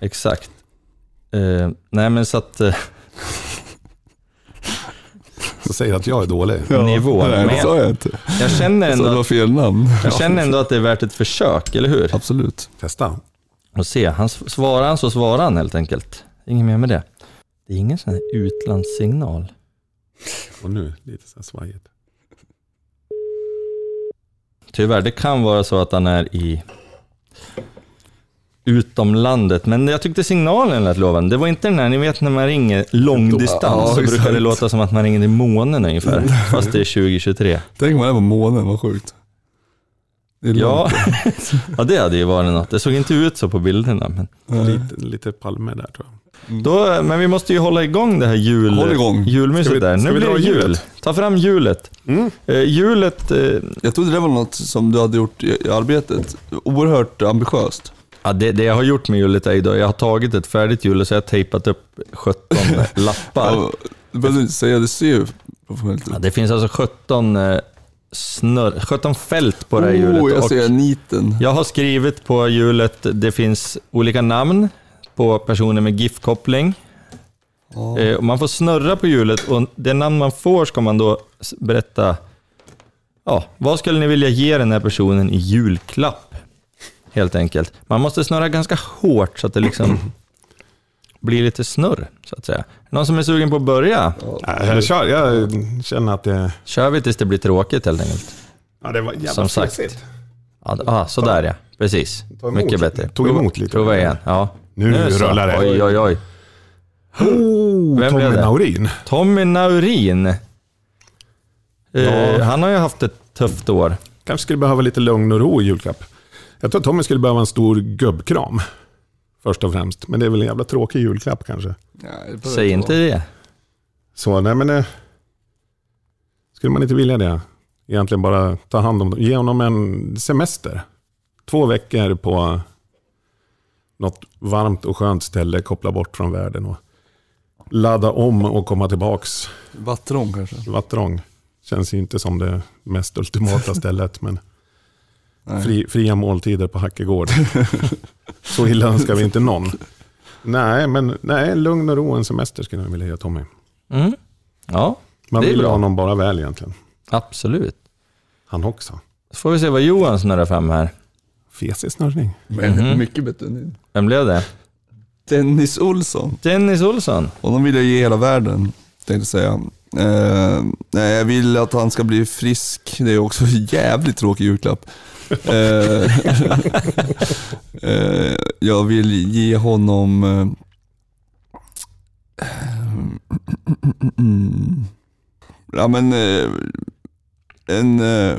A: Exakt. Eh, nej men så att eh,
C: Så säger att jag är dålig.
A: nivån.
B: Nej,
A: Men
B: det sa
A: jag,
B: jag inte.
A: jag, känner
B: Jag sa det
A: ändå,
B: var fel namn.
A: jag känner ändå att det är värt ett försök, eller hur?
B: Absolut.
C: Testa.
A: Och se, han, s- svarar han så svarar han helt enkelt. Inget mer med det. Det är ingen sån här utlandssignal.
C: Och nu, lite så här svajigt.
A: Tyvärr, det kan vara så att han är i utomlandet. Men jag tyckte signalen lät lovande. Det var inte den här, ni vet när man ringer långdistans så
B: Ja,
A: brukar
B: exakt. Mm.
A: det låta som att man ringer till månen ungefär. Fast det är 2023.
B: Tänk om man är på månen, vad sjukt. Det är
A: Ja.
B: långt.
A: ja, det hade ju varit något. Det såg inte ut så på bilderna. Men,
B: Nej.
C: Lite, lite palmer där tror jag.
A: då, men vi måste ju hålla igång det här jul,
B: Håll igång.
A: julmyset
C: Ska vi-
A: där.
C: ska
A: Nu
C: vi
A: blir
C: dra
A: det jul.
C: hjulet?
A: Ta fram hjulet. Eh, hjulet, eh,
B: Jag trodde det var något som du hade gjort i i arbetet. Oerhört ambitiöst.
A: ja, det, det jag har gjort med hjulet är idag, jag har tagit ett färdigt hjul och så har jag tejpat upp 17 lappar.
B: Ja, Du behöver inte säga, det ser ju professionellt ut.
A: Ja, det finns alltså 17, eh, snör, 17 fält på det här hjulet.
B: Oh, jag
A: och-
B: ser niten.
A: Jag har skrivit på hjulet, det finns olika namn på personer med GIF-koppling.
B: Ja.
A: Eh, och Man får snurra på hjulet och det namn man får ska man då s- berätta ja, vad skulle ni vilja ge den här personen i julklapp. Helt enkelt. Man måste snurra ganska hårt så att det liksom blir lite snurr, så att säga. Någon som är sugen på att börja?
C: Nej, jag, kör, jag känner att det...
A: Kör vi tills det blir tråkigt helt enkelt.
C: Ja, det var jävla
A: Som sagt.
C: fräsigt.
A: Ja, d- ah, sådär ja, precis.
C: Ta emot
A: Mycket
C: lite.
A: bättre.
C: Tog emot lite.
A: Prova igen. Ja.
C: Nu
A: så.
C: rullar det.
A: Oj, oj, oj. Vem
C: Tommy
A: blev det?
C: Naurin.
A: Tommy Naurin. Eh,
C: Ja.
A: Han har ju haft ett tufft år.
C: Kanske skulle behöva lite lugn och ro i julklapp. Jag tror att Tommy skulle behöva en stor gubbkram. Först och främst. Men det är väl en jävla tråkig julklapp kanske.
A: Säg typ. inte det.
C: Så nej men... Eh, skulle man inte vilja det? Egentligen bara ta hand om dem. Ge honom en semester. Två veckor på något varmt och skönt ställe. Koppla bort från världen och ladda om och komma tillbaks.
B: Vatterång kanske?
C: Vatterång känns ju inte som det mest ultimata stället. Men
B: Nej.
C: fri, fria måltider på Hackegård. Så illa önskar vi inte någon. Nej, men nej, lugn och ro en semester skulle jag vilja ge Tommy.
A: Mm. Ja,
C: Man
A: Det är
C: vill ju
A: bra.
C: honom bara väl egentligen.
A: absolut.
C: Han också.
A: Så får vi se vad Johan snurrar fram här.
C: Fesig snörning.
B: Men
A: Mhm.
B: mycket bättre än din.
A: Vem blev det?
B: Dennis Olsson.
A: Dennis Olsson.
B: Och de vill jag ge hela världen, tänkte jag säga. Eh, nej, jag vill att han ska bli frisk. Det är också en jävligt tråkig julklapp. Eh, eh, jag vill ge honom... eh, ja, men, eh, en eh,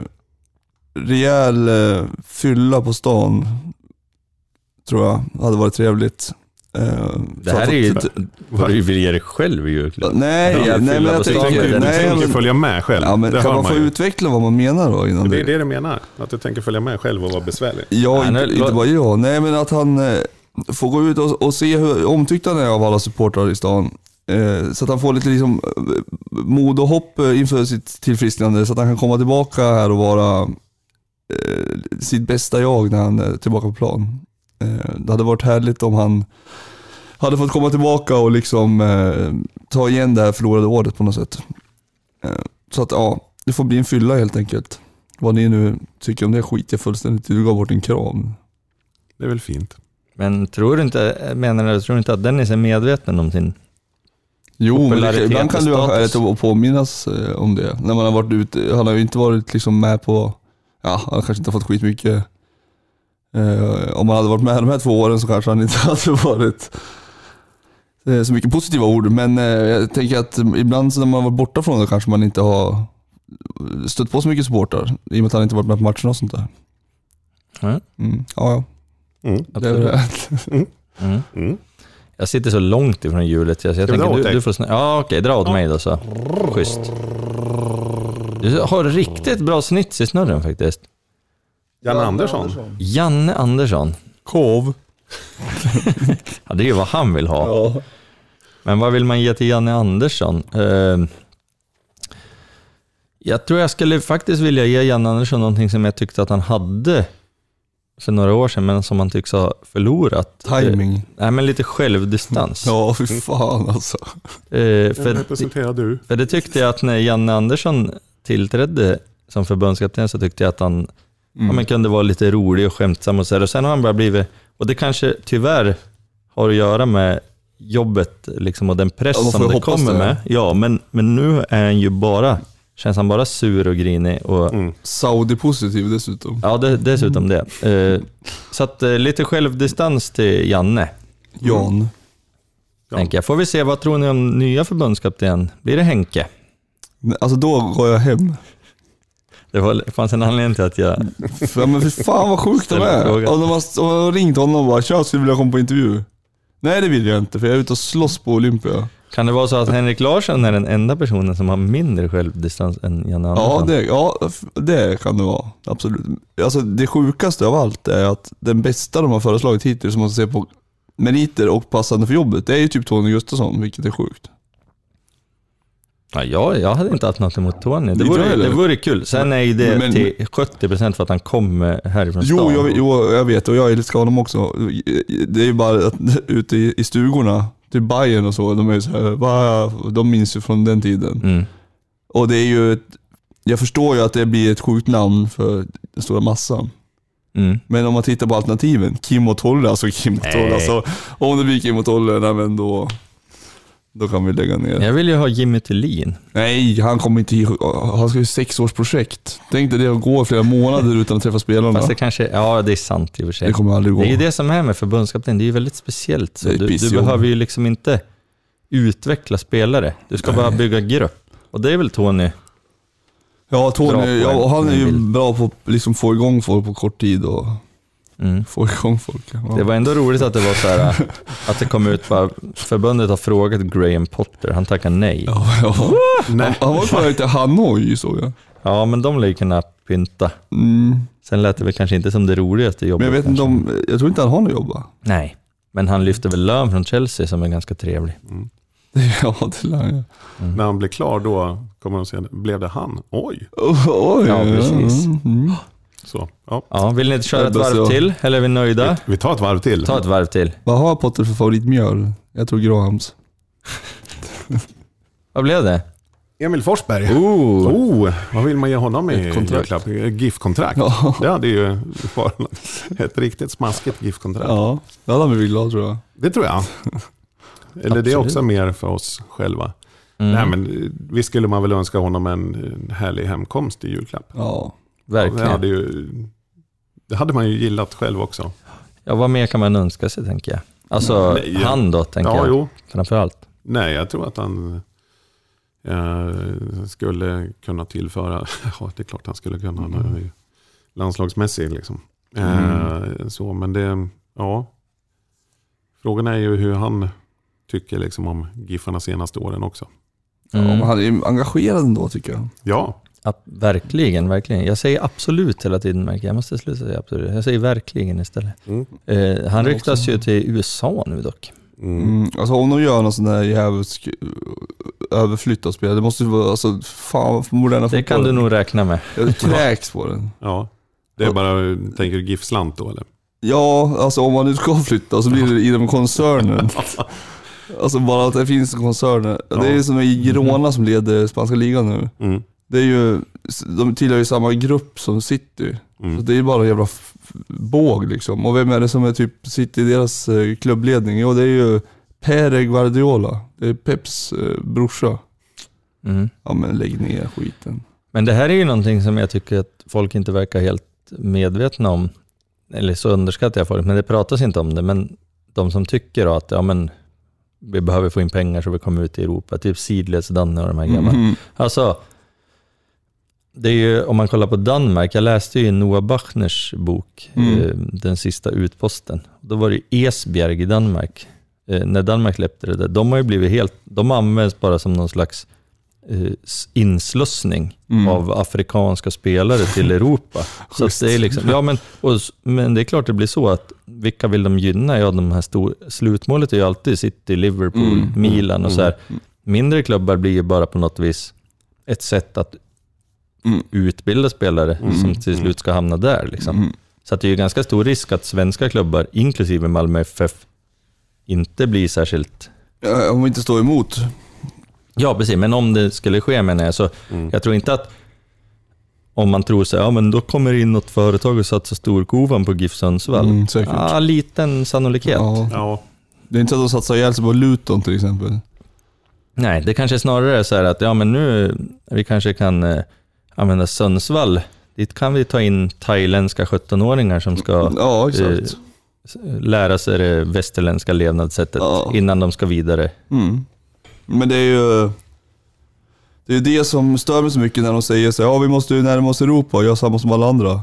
B: rejäl eh, fylla på stan, tror jag, hade varit trevligt. Eh,
A: Det här
B: för
A: är ju...
B: att-
A: Vad du vill ge dig själv i julklapp.
B: Nej,
A: Ja,
B: nej, men
A: fylla på
B: jag
C: Du
A: sig.
B: tänker,
C: tänker, du
B: nej,
C: tänker
B: men,
C: följa med själv.
B: ja, men
C: det
B: kan
C: hör
B: man få
C: ju.
B: utveckla vad man menar då? Innan
C: Det
B: det,
C: är det du menar. Att du tänker följa med själv och vara besvärlig.
B: Ja,
A: Nej,
B: inte,
A: nu-
B: inte bara jag. Nej, men att han eh, får gå ut och, och se hur omtyckt han är av alla supportrar i stan. Eh, så att han får lite liksom, eh, mod och hopp eh, inför sitt tillfrisknande. Så att han kan komma tillbaka här och vara eh, sitt bästa jag när han är tillbaka på plan. Eh, det hade varit härligt om han hade fått komma tillbaka och liksom eh, ta igen det här förlorade året på något sätt. Eh, så att ja, det får bli en fylla helt enkelt. Vad ni nu tycker om det skiter jag fullständigt i. Du gav bort en kram.
C: Det är väl fint.
A: Men tror du inte, menar du, tror du inte att Dennis är medveten om sin...
B: Jo, men det,
A: Popularitet
B: ibland kan
A: och
B: det vara
A: status.
B: härligt att påminnas eh, om det. När man har varit ute, han har ju inte varit liksom med på, ja han kanske inte har fått skitmycket. Eh, om han hade varit med de här två åren så kanske han inte hade varit eh, så mycket positiva ord. Men eh, jag tänker att ibland så när man varit borta från det kanske man inte har stött på så mycket supportrar. I och med att han inte varit med på matcherna och sånt där.
A: Mm,
B: Mm. Ja,
C: Mm.
B: ja. Det är väl
A: absolut.
B: det.
A: Mm.
C: Mm.
A: Jag sitter så långt ifrån hjulet, så jag
C: vi dra
A: tänker
C: åt
A: du,
C: dig?
A: du får snö... Ja, okej, dra åt mig då så. Schysst. Du har riktigt bra snits i snurren faktiskt.
C: Jan Andersson.
A: Janne Andersson.
B: Kov.
A: Ja, det är ju vad han vill ha.
B: Ja.
A: Men vad vill man ge till Janne Andersson? Eh, jag tror jag skulle faktiskt vilja ge Janne Andersson någonting som jag tyckte att han hade för några år sedan, men som han tycks ha förlorat. Eh,
B: Timing.
A: nej, men lite självdistans.
B: Ja, fy fan alltså.
A: Eh,
C: Vem
A: för,
C: representerar du?
A: för det tyckte jag att när Janne Andersson tillträdde som förbundskapten så tyckte jag att han
B: Mm.
A: ja, men kunde vara lite rolig och skämtsam och så här. Och sen har han bara blivit, och det kanske tyvärr har att göra med jobbet liksom, och den press
B: Ja, man får
A: som
B: ju
A: det
B: hoppas
A: kommer
B: det.
A: med. Ja, men, men nu är han ju bara, känns han bara sur och grinig och
C: Mm.
B: Saudi-positiv dessutom.
A: ja, det, dessutom det. Eh, så att, eh, lite självdistans till Janne,
B: Jan.
C: Ja.
A: tänker jag. Får vi se, vad tror ni om nya förbundskapten? Blir det Henke?
B: Nej, Alltså då går jag hem.
A: Det var, det fanns en anledning till att jag...
B: För, men fy fan vad sjukt de
A: Ställ en
B: är.
A: fråga.
B: Och de har, och de har ringt honom och bara “Tja, skulle du vilja komma på intervju?” Nej det vill jag inte för jag är ute och slåss på Olympia.
A: Kan det vara så att Henrik Larsson är den enda personen som har mindre självdistans än Janne Andersson?
B: Ja det, ja, f- det kan det vara. Absolut. Alltså det sjukaste av allt är att den bästa de har föreslagit hittills, som man ser på meriter och passande för jobbet, det är ju typ Tony Gustafsson, vilket är sjukt.
A: Ja, jag, jag hade inte haft något emot Tony. Det
B: Inte jag
A: vore,
B: heller.
A: det vore kul. Sen är ju det
B: Men-
A: till 70% för att han kom eh, härifrån
B: Jo
A: stan.
B: jag, jo, jag vet och jag älskar honom också. Det är ju bara att ute i, i stugorna, typ Bayern och så, de är ju så här, "Va?" de minns ju från den tiden.
A: Mm.
B: Och det är ju ett, jag förstår ju att det blir ett sjukt namn för den stora massan.
A: Mm.
B: Men om man tittar på alternativen, Kim och Tolle, alltså Kim och Tolle,
A: Nej.
B: alltså, om det blir Kim och Tolle, nej, men då, då kan vi lägga ner.
A: Jag vill ju ha Jimmy Tillin.
B: Nej, han kommer inte ihåg- han ska ju sex års projekt. Tänk dig det att gå flera månader utan att träffa spelarna.
A: Fast det kanske, ja det är sant i och för sig.
B: Det kommer aldrig gå.
A: Det är ju det som är med förbundskapten, det är ju väldigt speciellt. Så
B: Det är ett
A: du, du
B: pissjobb.
A: behöver ju liksom inte utveckla spelare. Du ska bara bygga grupp. Och det är väl Tony?
B: Ja,
A: Bra
B: Tony,
A: poäng.
B: ja, och han är ju
A: Bild.
B: bra på att liksom få igång folk på kort tid och
A: Mm.
B: få igång folk. Ja.
A: Det var ändå roligt att det var så här, att det kom ut bara, förbundet har frågat Graham Potter, han tackar nej. Ja,
B: Ja, ja.
C: Nej.
B: Han var ju på väg till Hanoi såg jag.
A: men de lär ju kunna pynta.
B: Mm.
A: Sen lät det väl kanske inte som det roligaste jobbet.
B: Men jag vet inte
A: kanske.
B: om, jag tror inte han har något jobb va?
A: Nej, men han lyfter väl lön från Chelsea som är ganska trevlig.
B: Ja, det lär han ju.
C: När han blir klar då kommer de säga, blev det han? Oj!
B: Oj,
A: Ja, precis.
B: Mm.
C: Så, ja.
A: Ja, vill ni inte köra ett
B: Ebbe,
A: varv
B: så-
A: till? Eller är vi nöjda?
C: Vi tar ett varv till.
A: Ta ett varv till.
B: Vad har Potter för favoritmjöl? Jag tror Grahams.
A: Vad blev det? Mm.
C: Emil Forsberg.
A: Ooh.
C: Oh, vad vill man ge honom i
B: Ett kontrakt.
C: julklapp? GIF-kontrakt.
B: Ja.
C: Det hade ju varit ett riktigt smaskigt GIF-kontrakt.
B: Ja, det hade han blivit glad tror jag.
C: Det tror jag. Eller det är
A: Absolut.
C: också mer för oss själva.
A: Mm,
C: Nej, men eh, visst skulle man väl önska honom en en härlig hemkomst i julklapp.
B: Ja.
C: Det hade,
A: verkligen.
C: ju, det hade man ju gillat själv också.
A: Ja, vad mer kan man önska sig, tänker jag. Alltså,
C: Nej, ja.
A: han då, tänker
C: Ja,
A: jag.
C: jo.
A: Framförallt.
C: Nej, jag tror att han eh, skulle kunna tillföra, ja det är klart han skulle kunna, han är ju landslagsmässig liksom. Eh, så, men det, ja. Frågan är ju hur han tycker liksom om Giffarna senaste åren också.
B: Ja,
A: Mm.
B: men han är ju engagerad ändå tycker jag.
C: Ja,
A: Ja, verkligen, verkligen. Jag säger absolut hela tiden, märker jag. Jag måste sluta säga absolut. Jag säger verkligen istället.
C: Mm.
A: Eh, han
B: Ja,
A: ryktas
B: också.
A: ju till USA nu dock.
C: mm.
B: Mm. Alltså om de gör någon sån där djävulsk eh, överflytt av spelare, det måste ju vara, alltså fan för moderna
A: Det kan du
B: fotbollen.
A: nog räkna med.
B: Jag kräks på den.
C: ja. Det är bara, tänker du GIF-slant då eller?
B: Ja, alltså om man nu ska flytta så blir det inom koncernen. Alltså bara att det finns koncerner. Det är ju som i Girona som leder spanska ligan nu.
C: Mm.
B: Det är ju, de tillhör ju samma grupp som City. Så
C: Mm.
B: det är ju bara en jävla f- båg liksom. Och vem är det som är typ City, deras eh, klubbledning? Jo, det är ju Pere Guardiola. Det är Peps eh, brorsa.
A: Mm.
B: Ja men lägg ner skiten.
A: Men det här är ju någonting som jag tycker att folk inte verkar helt medvetna om. Eller så underskattar jag folk, men det pratas inte om det. Men de som tycker då att ja, men, vi behöver få in pengar så vi kommer ut i Europa, typ sidleds Danne och de här grabbarna.
B: Mhm.
A: Alltså, det är ju, om man kollar på Danmark, jag läste ju Noah Bachners bok,
B: Mm.
A: eh, Den sista utposten. Då var det ju Esbjerg i Danmark, eh, när Danmark släppte det där. De har ju blivit helt, de används bara som någon slags eh, s- inslussning
B: Mm.
A: av afrikanska spelare till Europa. så att det är liksom, ja men, och, s- men det är klart det blir så att vilka vill de gynna? Ja, de här stor, slutmålet är ju alltid City, Liverpool,
B: Mm.
A: Milan och så här.
B: Mm.
A: Mindre klubbar blir ju bara på något vis ett sätt att
B: Mm.
A: utbilda spelare
C: Mm.
A: som till slut ska hamna där. Liksom.
B: Mm.
A: Så att det är ju ganska stor risk att svenska klubbar, inklusive Malmö FF, inte blir särskilt...
B: Ja, Om vi inte står emot.
A: Ja, precis. Men om det skulle ske menar jag, så
C: Mm.
A: jag tror inte att om man tror sig, ja men då kommer det in något företag och satsar storkovan på GIF Sundsvall.
B: Mm, säkert.
A: Ja, liten sannolikhet.
B: Ja.
C: Ja,
B: Det är inte så att de satsar ihjäl sig på Luton till exempel.
A: Nej, det kanske är snarare är så här att ja, men nu vi kanske kan eh, använda Sundsvall. Dit kan vi ta in thailändska 17-åringar som
C: Mm.
A: ska
B: Ja,
A: eh,
B: exakt.
A: s- lära sig det västerländska levnadssättet
B: Ja.
A: innan de ska vidare.
B: Mm. Men det är ju det, är ju det som stör mig så mycket när de säger så här, ja vi måste ju närma oss Europa och göra samma som alla andra.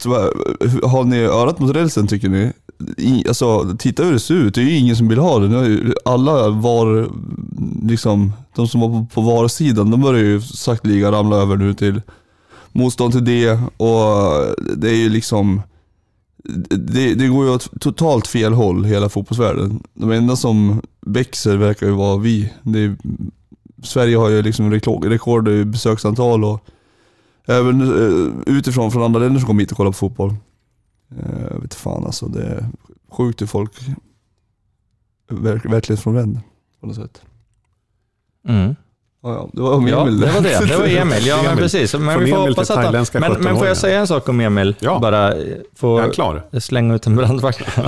B: Tyvärr, Har ni örat mot rälsen tycker ni? I, alltså, titta hur det ser ut. Det är ju ingen som vill ha det. Nu har ju alla var, liksom, de som var på, på varusidan, de börjar ju sakteliga ramla över nu till motstånd till det och det är ju liksom det, det går ju åt totalt fel håll hela fotbollsvärlden. De enda som växer verkar ju vara vi. Det är, Sverige har ju liksom reklo- rekord i besöksantal och även eh, utifrån från andra länder som kommer hit och kollar på fotboll. Eh, Jag vet fan alltså, det är sjukt hur folk verk, verklighetsfrånvänd på något sätt.
A: Mm.
B: Ja, ja, det var
A: Ja,
B: Emil
A: det var det. Det var Emil. Ja, men
C: Emil.
A: precis. Men,
C: Från
A: vi får
C: Emil
A: hoppas
C: till
A: att han,
C: thailändska
A: men, men får
C: 17-åringar.
A: jag säga en sak om Emil?
C: Ja.
A: Bara eh,
C: är
A: få
C: han klar?
A: slänga ut en brandvakt.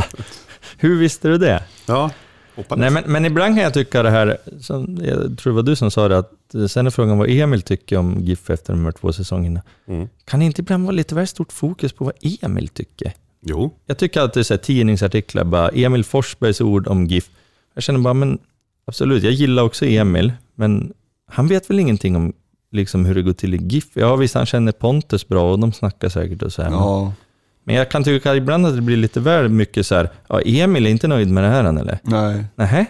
A: Hur visste du det?
C: Ja, hoppades.
A: Nej, men, men ibland kan jag tycka det här, som, jag tror det var du som sa det, att eh, sen är frågan vad Emil tycker om GIF efter de här två säsongerna.
C: Mm.
A: Kan det inte ibland vara lite väl stort fokus på vad Emil tycker?
C: Jo,
A: Jag tycker att det är så här, tidningsartiklar, bara Emil Forsbergs ord om GIF. Jag känner bara, men Absolut, jag gillar också Emil, men han vet väl ingenting om liksom hur det går till i GIF. Ja visst, han känner Pontus bra och de snackar säkert och så här. men-
B: Ja,
A: Men jag kan tycka ibland att det blir lite väl mycket så här, ja Emil är inte nöjd med det här än eller?
B: nej.
A: Nähä?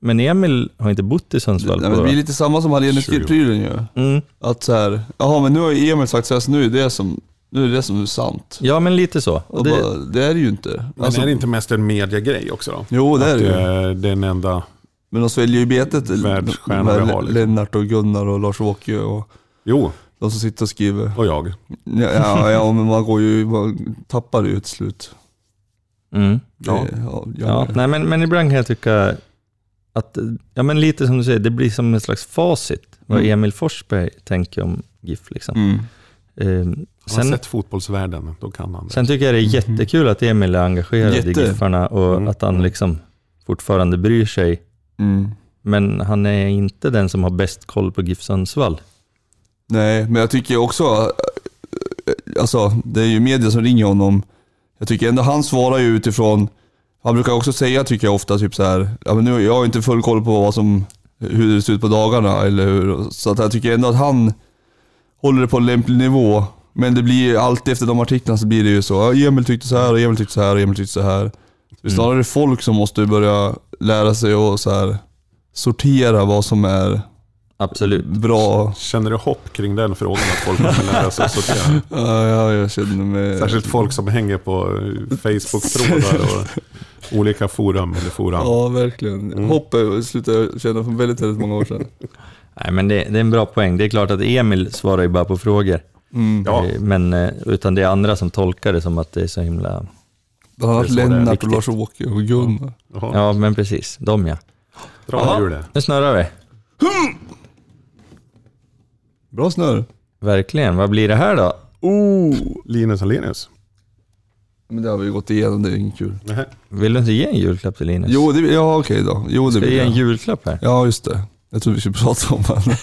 A: Men Emil har inte bott i
B: Det,
A: Sundsvall
B: nej, men
A: på...
B: det blir lite samma som hade enligt
C: 20 år.
B: prylen ju.
A: Mm.
B: Att så här, jaha men nu har ju Emil sagt så här, så nu är det som, nu är det som är sant.
A: Ja, men lite så.
B: Och
A: Och
B: det,
A: det,
B: bara, det är det ju inte. Alltså,
C: Men är det inte mest en mediegrej också då?
B: Jo det är
C: att,
B: det ju.
C: eh, det är den enda...
B: Men de sväljer ju betet.
C: Världsstjärnor
B: de här
C: vi har, liksom.
B: Lennart och Gunnar och Lars-Åke och
C: Jo,
B: de som sitter och skriver.
C: och jag.
B: Ja, ja, ja men man går ju, man tappar det ju till slut.
A: mm.
B: Det,
C: Ja.
B: ja,
A: ja, nej, men, men ibland kan jag tycka att, ja men lite som du säger, det blir som en slags facit vad
B: Mm.
A: Emil Forsberg tänker om GIF. Liksom.
B: Mm.
A: Ehm,
C: Har han
A: sen,
C: sett Mm. fotbollsvärlden, då kan han det.
A: sen tycker jag det är jättekul att Emil är engagerad
B: Jätte.
A: i GIFarna och
C: Mm.
A: att han liksom fortfarande bryr sig.
B: Mm.
A: Men han är inte den som har bäst koll på GIF Sundsvall.
B: Nej, men jag tycker också, eh, alltså det är ju media som ringer honom. Jag tycker ändå han svarar ju utifrån, han brukar också säga tycker jag ofta typ så här, ja men nu, jag har inte full koll på vad som, hur det ser ut på dagarna eller hur. Så att jag tycker ändå att han håller det på en lämplig nivå. Men det blir ju alltid efter de artiklarna så blir det ju så, ja, Emil tyckte så här och Emil tyckte så här och Emil tyckte så här. Det är snarare folk som måste börja lära sig och så här sortera vad som är
A: Absolut.
B: bra
C: Känner du hopp kring den frågan att folk kan lära sig att sortera?
B: Ja, ja, jag känner mig...
C: Särskilt folk som hänger på eh, Facebook-trådar och olika forum. Eller forum.
B: Ja, verkligen.
C: Mm.
B: Hopp är- slutade jag känna för väldigt, väldigt många år sedan.
A: Nej, men det, det är en bra poäng. Det är klart att Emil svarar ju bara på frågor.
B: Mm.
C: Ja,
A: Eh, Men, eh, utan det är andra som tolkar det som att det är så himla...
B: Bland annat
C: Det är så det är
B: Lennart och
A: viktigt.
B: Lars-Åke och Gunnar.
C: jaha,
A: Ja, men precis. De ja.
C: dra ur det.
A: Nu snurrar vi.
B: Bra snör.
A: Verkligen. Vad blir det här då?
C: Linus Alenius.
B: Men det har vi gått igenom, det är inget kul.
C: Nähä.
A: Vill du inte ge en julklapp till Linus?
B: Jo, det, ja okej då. Jo, det
A: Ska jag
B: vill
A: ge en
B: jag.
A: julklapp här?
B: Ja, just det. Jag tror vi skulle prata om det.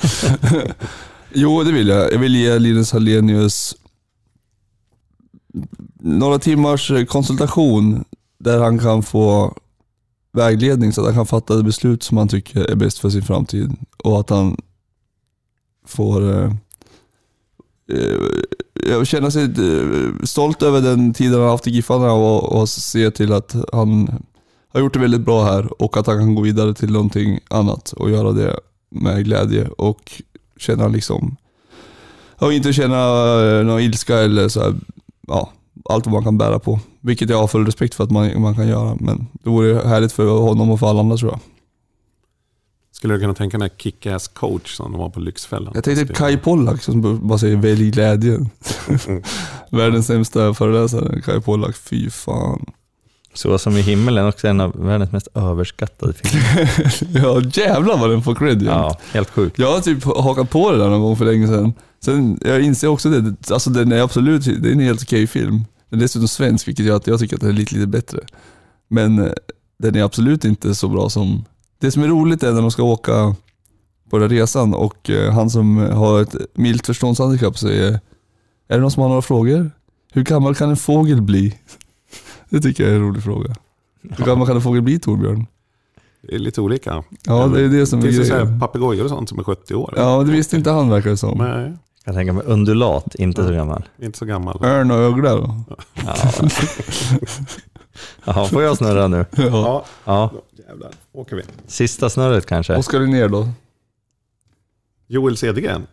B: jo, det vill jag. Jag vill ge Linus Hallenius några timmars konsultation där han kan få vägledning så att han kan fatta det beslut som han tycker är bäst för sin framtid. Och att han får eh, eh, jag känner sig eh, stolt över den tiden han har haft i Giffarna och, och se till att han har gjort det väldigt bra här och att han kan gå vidare till någonting annat och göra det med glädje och känna liksom, och inte känna eh, någon ilska eller så här, ja, allt vad man kan bära på. Vilket jag har full respekt för att man, man kan göra, men det vore härligt för honom och för alla andra tror jag.
C: Skulle du kunna tänka dig Kick-Ass coach som de var på Lyxfällan?
B: Jag tänkte Kai Pollak som bara säger välj glädjen. Världens sämsta föreläsare, Kai Pollak. Fy fan.
A: Så som i himmelen, också en av världens mest överskattade filmer.
B: Ja jävlar vad den får cred ja.
A: Ja, helt sjukt.
B: Jag har typ hakat på det där någon gång för länge sedan. Sen, jag inser också det, alltså den är absolut, det är en helt okej film. Den är dessutom svensk, vilket gör att jag tycker att den är lite, lite bättre. Men eh, den är absolut inte så bra som... Det som är roligt är när de ska åka på den här resan och eh, han som har ett milt förståndshandikapp säger Är det någon som har några frågor? Hur gammal kan en fågel bli? Det tycker jag är en rolig fråga. Hur gammal kan en fågel bli Torbjörn?
C: Det är lite olika.
B: Ja, det är det som är
C: Finns det så här
B: grejen.
C: papegojor och sånt som är 70 år?
B: Ja, det visste inte han verkar det som.
C: Nej,
A: Jag kan tänka mig undulat, inte så gammal.
C: inte så gammal.
B: Örn och ögla då?
A: Ja. ja, får jag snurra nu?
C: Ja,
A: Ja,
C: jävlar. Åker vi.
A: sista snurret kanske.
B: Oskar ner då?
C: Joel Cedergren.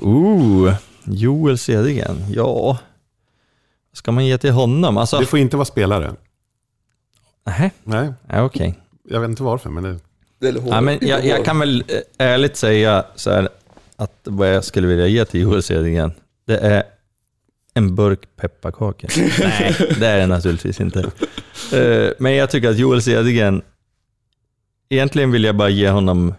A: Ooh, Joel Cedergren. Ja, vad ska man ge till honom? Alltså,
C: Det får inte vara spelare.
A: nej,
C: Nej,
A: ja, okej.
C: jag vet inte varför, men det...
B: Eller hår.
A: Ja, men jag, jag kan väl eh, ärligt säga så här, att vad jag skulle vilja ge till Joel Cedergren, det är en burk pepparkakor. Nej, det är det naturligtvis inte. Eh, Men jag tycker att Joel Cedergren, egentligen vill jag bara ge honom,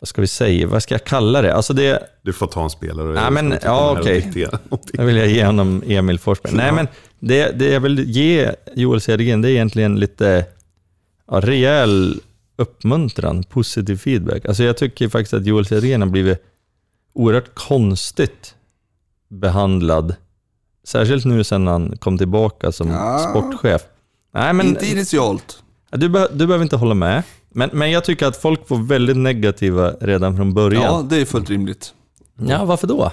A: vad ska vi säga, vad ska jag kalla det? Alltså det,
C: Du får ta en spelare. och
A: Nej,
C: jag
A: men,
C: ska inte
A: ja,
C: här och
A: okej.
C: diktera någonting.
A: jag vill jag ge honom Emil Forsberg. Nej, men det, det jag vill ge Joel Cedergren, det är egentligen lite ja, rejäl uppmuntran, positiv feedback. Alltså jag tycker faktiskt att Joel Cedergren har blivit oerhört konstigt behandlad. Särskilt nu sedan han kom tillbaka som
B: Ja.
A: sportchef. Nej, men,
B: Inte initialt.
A: Ja, Du, beh- du behöver inte hålla med, men, men jag tycker att folk får väldigt negativa redan från början.
B: Ja,
A: Ja,
B: det är fullt rimligt.
A: varför då?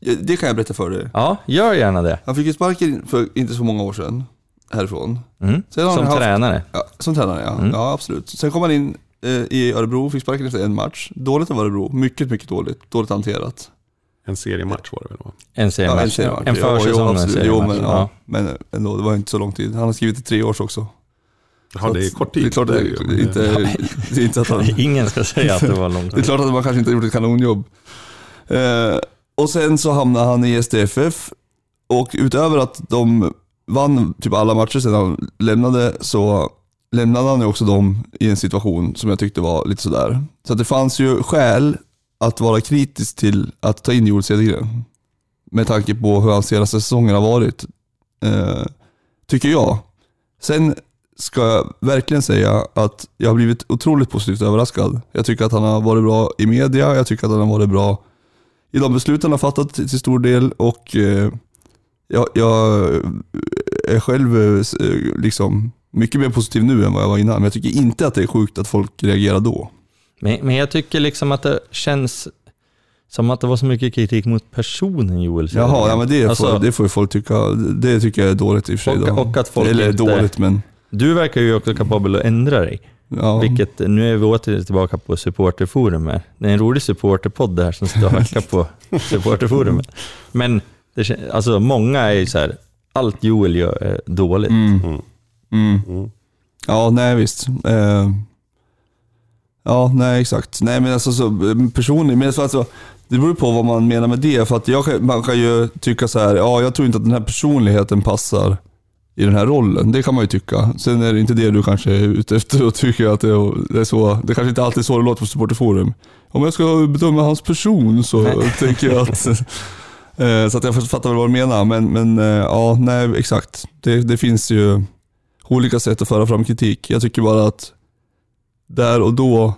B: Ja, Det kan jag berätta för dig.
A: Ja, gör gärna det.
B: Han fick ju sparken för inte så många år sedan, härifrån.
A: Mm.
B: Sen har
A: Som
B: han haft-
A: tränare. Mm.
B: Ja, som tränare ja. Ja, absolut. Sen kom han in eh, i Örebro, fick sparken efter en match. Dåligt av Örebro, mycket, mycket dåligt. Dåligt hanterat.
C: En seriematch var det väl? Va?
A: En seriematch.
B: en seriematch.
A: En
B: Ja,
A: försäsong
B: jo,
A: och en
B: absolut. Jo,
A: seriematch.
B: men, ja.
A: Ja.
B: men eh, ändå, det var inte så lång tid. Han har skrivit i tre års också.
C: Ja, det är kort tid.
B: Det är klart att,
C: ju,
B: det,
C: men-
B: är inte, det är inte att han...
A: Ingen ska säga att det var långt.
B: Det är klart att man kanske inte har gjort ett kanonjobb. Eh, och sen så hamnade han i STFF och utöver att de vann typ alla matcher sedan han lämnade så lämnade han ju också dem i en situation som jag tyckte var lite sådär. Så att det fanns ju skäl att vara kritisk till att ta in Joel Cedergren. Med tanke på hur hans senaste säsonger har varit. Eh, tycker jag. Sen ska jag verkligen säga att jag har blivit otroligt positivt överraskad. Jag tycker att han har varit bra i media, jag tycker att han har varit bra i de beslut han har fattat till till stor del och eh, jag, jag är själv eh, s- eh, liksom mycket mer positiv nu än vad jag var innan. Men jag tycker inte att det är sjukt att folk reagerar då.
A: Men, men jag tycker liksom att det känns som att det var så mycket kritik mot personen Joel Södergren.
B: Jaha, ja, men det, får,
A: Alltså,
B: det får ju folk tycka. Det tycker jag är dåligt i och för sig.
A: Och-
B: då.
A: och att folk
B: Eller
A: inte-
B: dåligt men...
A: Du verkar ju också kapabel att ändra dig.
B: Ja.
A: Vilket, nu är vi åter tillbaka på supporterforumet. Det är en rolig supporterpodd det här som står och hackar på supporterforumet. Men det, kän- alltså, många är ju så här, allt Joel gör är dåligt.
C: Mm.
B: Mm.
C: Mm.
B: Ja, nej visst. Eh, ja, nej exakt. Nej men alltså så, eh, personligen, men alltså, det beror på vad man menar med det. För att jag, kan- man kan ju tycka så här, ja jag tror inte att den här personligheten passar i den här rollen. Det kan man ju tycka. Sen är det inte det du kanske är ute efter och tycker att det är- det är så. Det kanske inte alltid är så det låter på supporterforum. Om jag ska bedöma hans person så tänker jag att... eh, Så att jag fattar väl vad du menar. Men, men eh, ja, nej exakt. Det, det finns ju olika sätt att föra fram kritik. Jag tycker bara att där och då,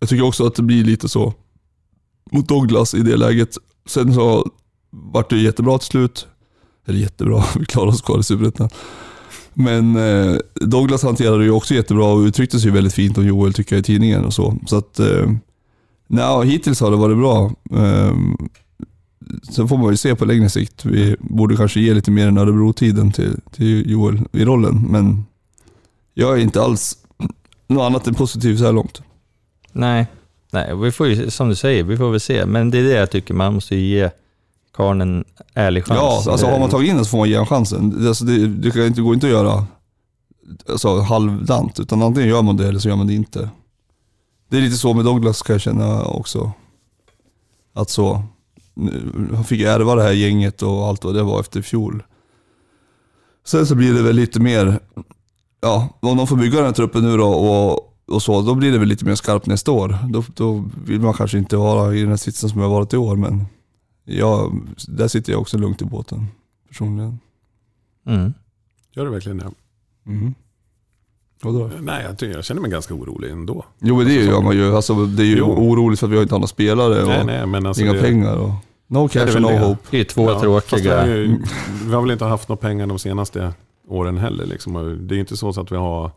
B: jag tycker också att det blir lite så mot Douglas i det läget. Sen så vart det ju jättebra till slut. Eller jättebra, vi klarade oss kvar i Superettan. Men eh, Douglas hanterade det ju också jättebra och uttryckte sig ju väldigt fint om Joel tycker jag i tidningen och så. Så att, eh, nja, hittills har det varit bra. Eh, sen får man ju se på längre sikt. Vi borde kanske ge lite mer än Örebro-tiden till, till Joel i rollen. Men jag är inte alls något annat än positiv så här långt.
A: Nej, nej, vi får ju, som du säger, vi får väl se. Men det är det jag tycker, man måste ju ge karln en ärlig chans.
B: Ja, alltså har man tagit in den så får man ge en chansen. Alltså, det, det, kan inte, går inte att göra alltså, halvdant, utan antingen gör man det eller så gör man det inte. Det är lite så med Douglas kan jag känna också. Att så, nu- han fick ärva det här gänget och allt vad det var efter fjol. Sen så blir det väl lite mer, ja, om de får bygga den här truppen nu då och, och så, då blir det väl lite mer skarpt nästa år. Då, då vill man kanske inte vara i den här sitsen som jag varit i år, men Ja, där sitter jag också lugnt i båten personligen.
A: Mm.
C: Gör det verkligen det? Mm-hmm.
B: Mm. Vadå?
C: Nej, jag, tycker- jag känner mig ganska orolig ändå.
B: Jo men det gör man ju. Alltså, det är ju
C: Jo.
B: oroligt för att vi har inte andra spelare och
C: nej, nej, men alltså
B: inga
C: det-
B: pengar. Och no
C: det är
B: cash,
C: väl
B: no
C: det.
B: hope.
A: Det är ju två
C: Ja, fast det
A: tråkiga...
C: har ju- Vi har väl inte haft några pengar de senaste åren heller. Liksom. Och Det är ju inte så att vi har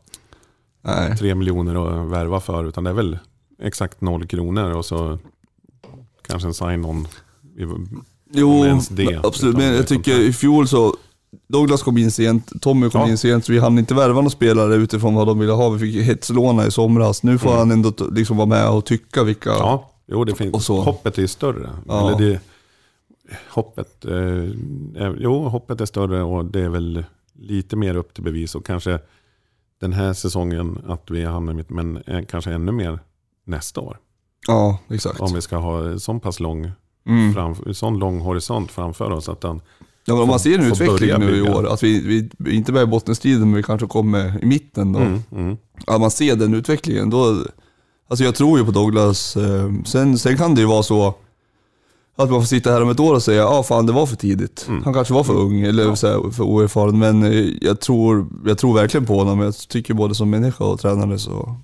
B: Nej.
C: tre miljoner att värva för, utan det är väl exakt noll kronor och så kanske en sign-on. i-
B: Jo,
C: Om ens det,
B: men absolut.
C: utan
B: Men
C: det är
B: jag tycker
C: kontrakt.
B: i fjol så, Douglas kom in sent, Tommy kom
C: Ja.
B: in sent, så vi hann inte värva några spelare utifrån vad de ville ha. Vi fick hetslåna i somras. Nu får han ändå t- liksom vara med och tycka vilka...
C: Mm. Ja, jo det
B: Och
C: finns.
B: så.
C: Hoppet är ju större.
B: Ja.
C: Eller det, hoppet, eh, är- jo, hoppet är större och det är väl lite mer upp till bevis. Och kanske den här säsongen att vi hamnar mitt, men eh, kanske ännu mer nästa år.
B: Ja, exakt.
C: Om vi ska ha så pass lång,
B: Mm.
C: fram, sån lång horisont framför oss. Att den,
B: Ja, men om man ser en
C: Får
B: utveckling
C: börja
B: nu i
C: bygga.
B: år, att vi, vi vi är inte med i bottenstriden men vi kanske kommer i mitten då.
C: mm, mm,
B: att man ser den utvecklingen. Då, alltså jag tror ju på Douglas. Eh, Sen, sen kan det ju vara så att man får sitta här om ett år och säga ja ah, fan det var för tidigt. Han kanske var för ung eller så här, för oerfaren. Men eh, jag tror, jag tror verkligen på honom. Jag tycker både som människa och tränare så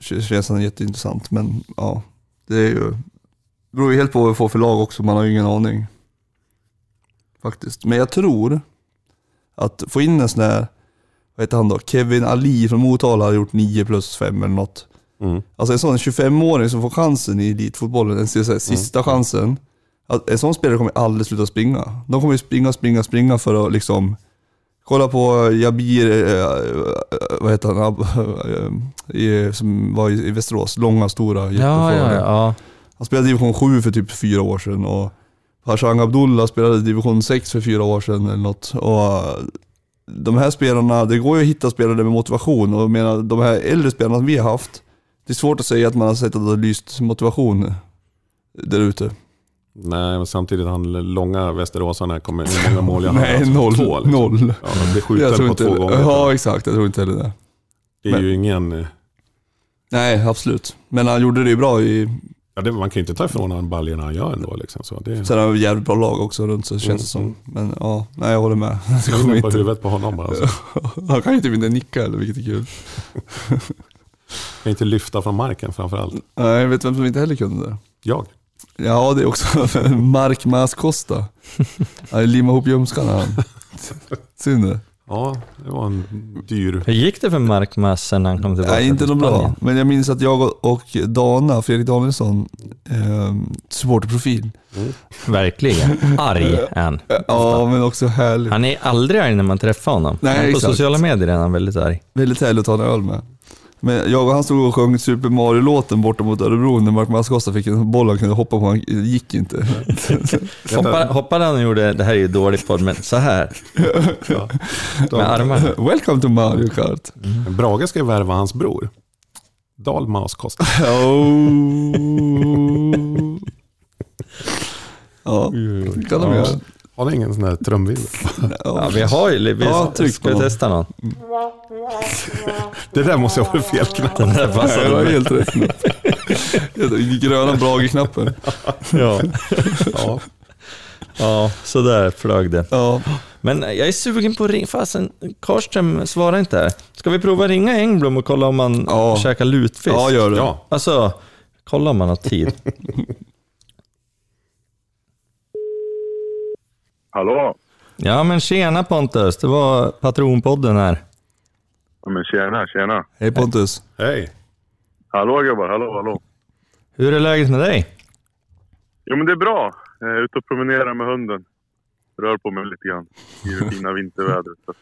B: k- känns han jätteintressant. Men ja, det är ju, beror ju helt på vad vi får för lag också. Man har ju ingen aning. Faktiskt. Men jag tror att få in en sån här vad heter han då? Kevin Ali från Motala har gjort 9 plus 5 eller något.
C: Mm.
B: Alltså en sån 25-åring som får chansen i elitfotbollen, en sån här sista
A: Mm.
B: chansen. Att en sån spelare kommer aldrig sluta springa. De kommer ju springa, springa, springa för att liksom... Kolla på Jabir, eh, eh, vad heter han, Ab- eh, i, som var i i Västerås. Långa, stora,
A: Ja, ja,
B: jätteforwarden.
A: ja.
B: Han spelade division 7 för typ fyra år sedan och Hashan Abdullah spelade division 6 för fyra år sedan eller något. Och eh, de här spelarna, det går ju att hitta spelare med motivation och jag menar, de här äldre spelarna som vi har haft, det är svårt att säga att man har sett att det har lyst motivation där ute.
C: Nej, men samtidigt han långa västeråsarna kommer... Hur många mål jag
B: Nej,
C: Alltså,
B: noll.
C: Två, liksom.
B: Noll.
C: Ja, de blir
B: Jag tror
C: skjuten på
B: inte
C: två gånger.
B: Ja, exakt. Jag tror inte heller det.
C: det är ju ingen... eh,
B: Nej, absolut. Men han gjorde det ju bra i...
C: Ja, det, man kan ju inte ta ifrån honom baljorna han gör ändå. Liksom, så det,
B: Sen har vi jävligt bra lag också runt så känns det som.
C: Mm.
B: Men ja, nej jag håller med. Det
C: jag
B: kommer
C: är på
B: inte...
C: huvudet på honom bara. Alltså.
B: Han kan ju typ inte nicka eller vilket är kul.
C: Kan inte lyfta från marken framförallt.
B: Nej, vet du vem som inte heller kunde det?
C: Jag.
B: Ja, det är också Mark Mas Costa. Han limmade ihop ljumskarna han. Synd det.
C: Ja, det var en dyr...
A: Hur gick det för Mark Mass sen han kom tillbaka
B: Nej, inte
A: till
B: något bra.
A: Spanien?
B: Men jag minns att jag och Dana, Fredrik Danielsson, eh, supporterprofil.
A: Verkligen. Arg är han.
B: Ja, men också härlig.
A: Han är aldrig arg när man träffar honom.
B: Nej,
A: men på
B: exakt.
A: sociala medier är han väldigt arg.
B: Väldigt härlig att ta en öl med. Men jag och han stod och sjöng Super Mario-låten borta mot Örebro när Mark Mas Costa fick en boll han kunde hoppa på. Han gick inte.
A: Hoppa, hoppade han och gjorde, det här är ju dålig podd, men så här
C: Ja.
A: med armarna.
B: Welcome to Mario Kart.
C: Brage ska ju värva hans bror. Dalmas kostar.
B: Oh. ja, det kan de göra.
C: Har ni ingen sån här trumvirvel?
A: Ja, vi har ju, vi
B: Ja, tryck
A: ska
B: på
A: vi
B: dem.
A: testa någon.
C: Det där måste jag vara fel knapp.
A: Den där
B: Nej, det var
A: passade mig.
B: helt rätt knapp. Gröna Brage-knappen.
A: Ja.
C: Ja.
A: ja, så där flög det.
B: Ja.
A: Men jag är sugen på att ringa. Fasen, Karlström svarar inte här. Ska vi prova att ringa Engblom och kolla om han
B: Ja.
A: käkar lutfisk?
B: ja, gör det.
C: ja,
A: Alltså, kolla om han har tid.
E: Hallå?
A: Ja, men tjena Pontus. Det var Patronpodden här.
E: Ja, men tjena, tjena.
B: Hej Pontus.
C: hej.
E: Hallå gubbar, hallå, hallå.
A: Hur är läget med dig?
E: Jo men det är bra. Jag är ute och promenerar med hunden. Rör på mig lite grann i det fina vintervädret. Så att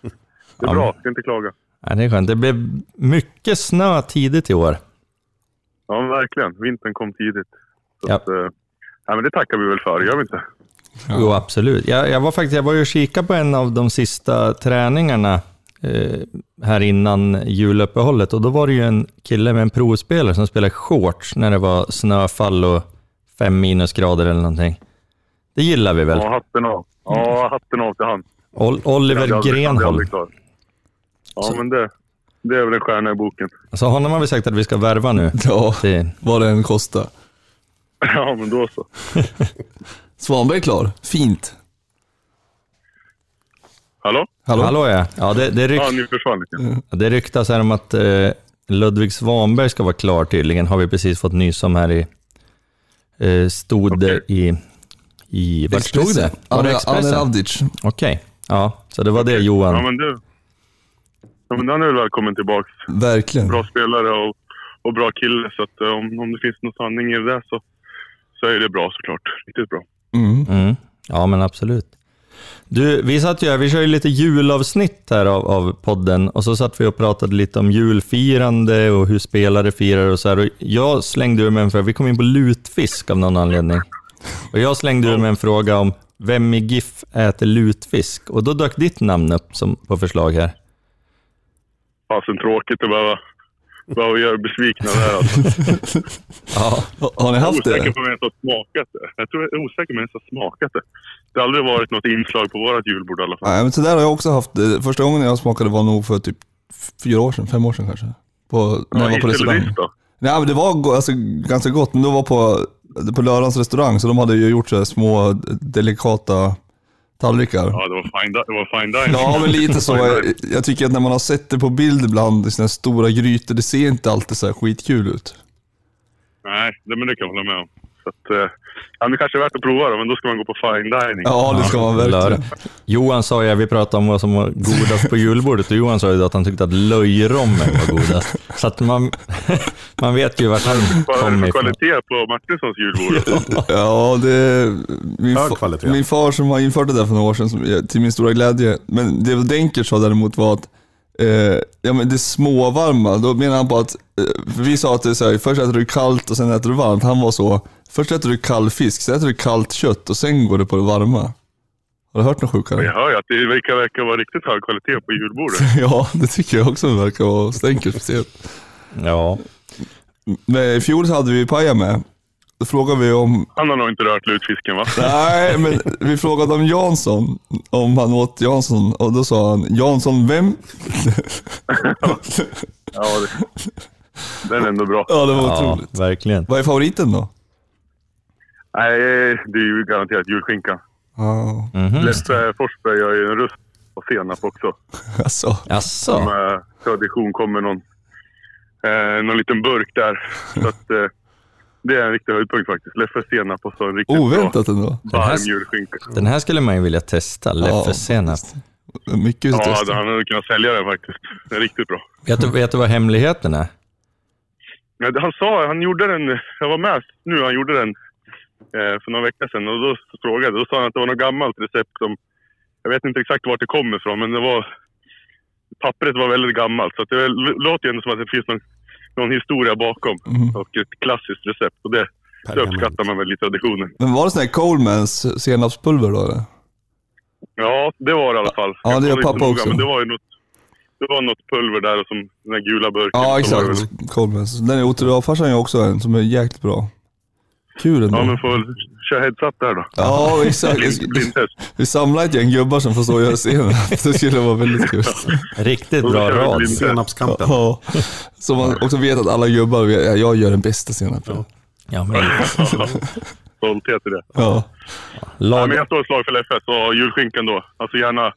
E: Det är bra, ska inte klaga.
A: Ja, det är skönt. Det blev mycket snö tidigt i år.
E: Ja men verkligen, vintern kom tidigt. Så
A: Ja.
E: att, eh, ja, men det tackar vi väl för, gör vi inte?
A: Jo, absolut. Jag, jag var faktiskt jag var ju och kikade på en av de sista träningarna eh, här innan juluppehållet och då var det ju en kille med en provspelare som spelade shorts när det var snöfall och fem minusgrader eller någonting. Det gillar vi väl?
E: Ja, hatten av. Ja, hatten av till han.
A: Ol-
E: Han blir
A: Oliver
E: aldrig- han blir
A: Grenholm.
E: aldrig klar. Ja men det, det är väl en stjärna i boken.
A: Så honom har vi sagt att vi ska värva nu.
B: Ja,
A: Till,
B: vad det än kostar.
E: Ja men då så.
B: Svanberg är klar. Fint.
E: Hallå?
B: Hallå?
A: hallå ja. ja det, det, rykt,
E: Ja, ni försvann lite.
A: det ryktas här om att eh, Ludvig Svanberg ska vara klar tydligen, har vi precis fått nys om här i... Eh, stod det i... i vart stod det? Var det
B: Anel
A: Expressen?
B: Avdic.
A: Okej, ja. Så det var det Johan.
E: Ja men du. Ja men han är väl välkommen tillbaks.
B: Verkligen.
E: bra spelare och, och bra kille. Så att, eh, om, om det finns någon sanning i det där så, så är det bra såklart. Riktigt bra.
B: Mm.
A: Mm. Ja, men absolut. Du, vi satt ju här, vi kör ju lite julavsnitt här av, av podden och så satt vi och pratade lite om julfirande och hur spelare firar och så här. Och jag slängde ur mig en fråga, vi kom in på lutfisk av någon anledning. Och jag slängde ur mig en fråga om vem i GIF äter lutfisk? Och då dök ditt namn upp som, på förslag här.
E: Fasen tråkigt att behöva, behöva göra besvikna där. Alltså.
A: Ja,
B: Ha- Har ni
E: Jag är
B: haft
E: osäker
B: det?
E: på om jag ens har smakat det. Jag tror jag är osäker om jag ens har smakat det. Det har aldrig varit något inslag på vårt julbord i alla fall.
B: Nej, men sådär har jag också haft. det. Första gången jag smakade var nog för typ fyra år sedan, fem år sedan kanske. På, när jag var på
E: is eller
B: restaurang.
E: is då?
B: Nej men det var go- alltså, ganska gott, men det var på, på lördagens restaurang så de hade ju gjort så här små delikata tallrikar.
E: Ja, det var fine, di- det var fine dining.
B: Ja men lite så. Jag, jag tycker att när man har sett det på bild ibland i såna här stora grytor, det ser inte alltid så här skitkul ut.
E: Nej, det, men det kan jag hålla med om. Så att, eh, ja, men det kanske är värt att prova då, men då ska man gå på fine dining.
B: Ja, det ska man verkligen.
A: Lördag. Johan sa ju, vi pratade om vad som var godast på julbordet och Johan sa ju att han tyckte att löjrommen var godast. Så att man, man vet ju vart han
E: Vad är det
A: kommer
E: för
A: ifrån.
E: kvalitet på Martinssons julbord?
B: Ja, det... Min,
C: Hög
B: fa-
C: kvalitet.
B: min far som har infört det där för några år sedan, som, jag- till min stora glädje. Men det Denker sa däremot var att eh, ja, men det småvarma, då menar han på att, eh, för vi sa att det är så här, först äter du kallt och sen äter du varmt. Han var så, först äter du kall fisk, sen äter du kallt kött och sen går du på det varma. Har du hört något
E: Jag
B: sjukare?
E: hör ju att det verkar, verkar vara riktigt hög kvalitet på julbordet.
B: Ja, det tycker jag också verkar vara Denkers speciellt.
A: Ja,
B: Men i fjol så hade vi paja med. Då frågade vi om
E: Han har nog inte rört lutfisken va?
B: Nej, men vi frågade om Jansson, om han åt Jansson och då sa han Jansson vem?
E: Ja, det, den är ändå bra.
B: Ja, det var
A: ja
B: otroligt.
A: verkligen.
B: Vad är favoriten då?
E: Nej, det är ju garanterat julskinkan.
B: Ja,
A: Mhm.
E: Leffe Forsberg gör ju en rust på senap också.
B: alltså.
A: Jaså?
E: Med tradition kommer någon, eh, någon liten burk där. Så att, eh, det är en riktig höjdpunkt faktiskt. Leffe senap och så en riktigt
B: Oväntat ändå.
E: bra
A: Den här-
E: varm julskinka.
A: Den här skulle man ju vilja testa, Leffe-senap.
B: Mycket
E: Ja,
B: test.
E: han hade kunnat sälja den faktiskt. Den är riktigt bra.
A: Vet, du- vet du vad hemligheten är?
E: Men han sa, han gjorde den, jag var med nu, han gjorde den eh, för några veckor sedan och då frågade, då sa han att det var något gammalt recept som, jag vet inte exakt vart det kommer ifrån men det var, pappret var väldigt gammalt så att det l- låter ju ändå som att det finns någon, någon historia bakom
B: Mm.
E: och ett klassiskt recept och det, det
C: Pergament.
E: uppskattar man väl i traditionen.
B: Men var det sån här Colemans senapspulver då eller?
E: Ja, det var det i alla fall.
B: Ja,
E: Jag
B: det gör
E: kollade inte
B: pappa också.
E: Men det var ju något, det var något pulver där och som den där gula burken.
B: Ja,
E: Så var det väl-
B: exakt. Colemans. Den är otrolig. Ja, Farsan gör också en som är jäkligt bra. Kul ändå.
E: Ja, men får väl köra heads up där då.
B: Ja, exakt. Vi-
E: Blind- Blindtest.
B: Vi samlar ett gäng gubbar som får stå och göra senap. Det skulle vara väldigt kul.
A: Riktigt
E: Då
A: bra
E: kör vi
A: rad.
E: blind-
C: Senapskampen.
B: Ja. Så man också vet att alla gubbar, vet- jag gör den bästa senapen.
A: Ja, men,
E: Stolthet i det.
B: Ja.
E: Ja, men
A: lag,
E: jag står ett slag för Leffe, så julskinkan då. Alltså gärna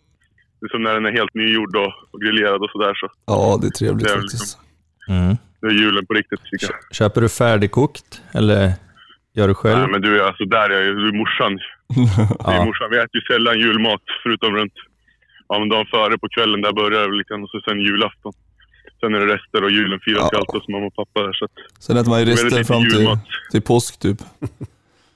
E: liksom när den är helt nygjord och, och grillerad och sådär. Så
B: ja, det är trevligt
E: Det är
B: faktiskt.
E: det är julen på riktigt tycker jag.
A: köper du färdigkokt eller gör du själv?
E: Nej, men du, alltså där är ju du är morsan. Det är morsan. Vi äter ju sällan julmat, förutom runt ja, men dagen före på kvällen. Där börjar det väl lite grann och så sen julafton. Sen är det rester och julen firas ju alltid hos mamma och pappa där. Så att,
B: Sen äter man ju
E: Väldigt
B: resten
E: lite
B: fram till,
E: julmat.
B: till påsk typ.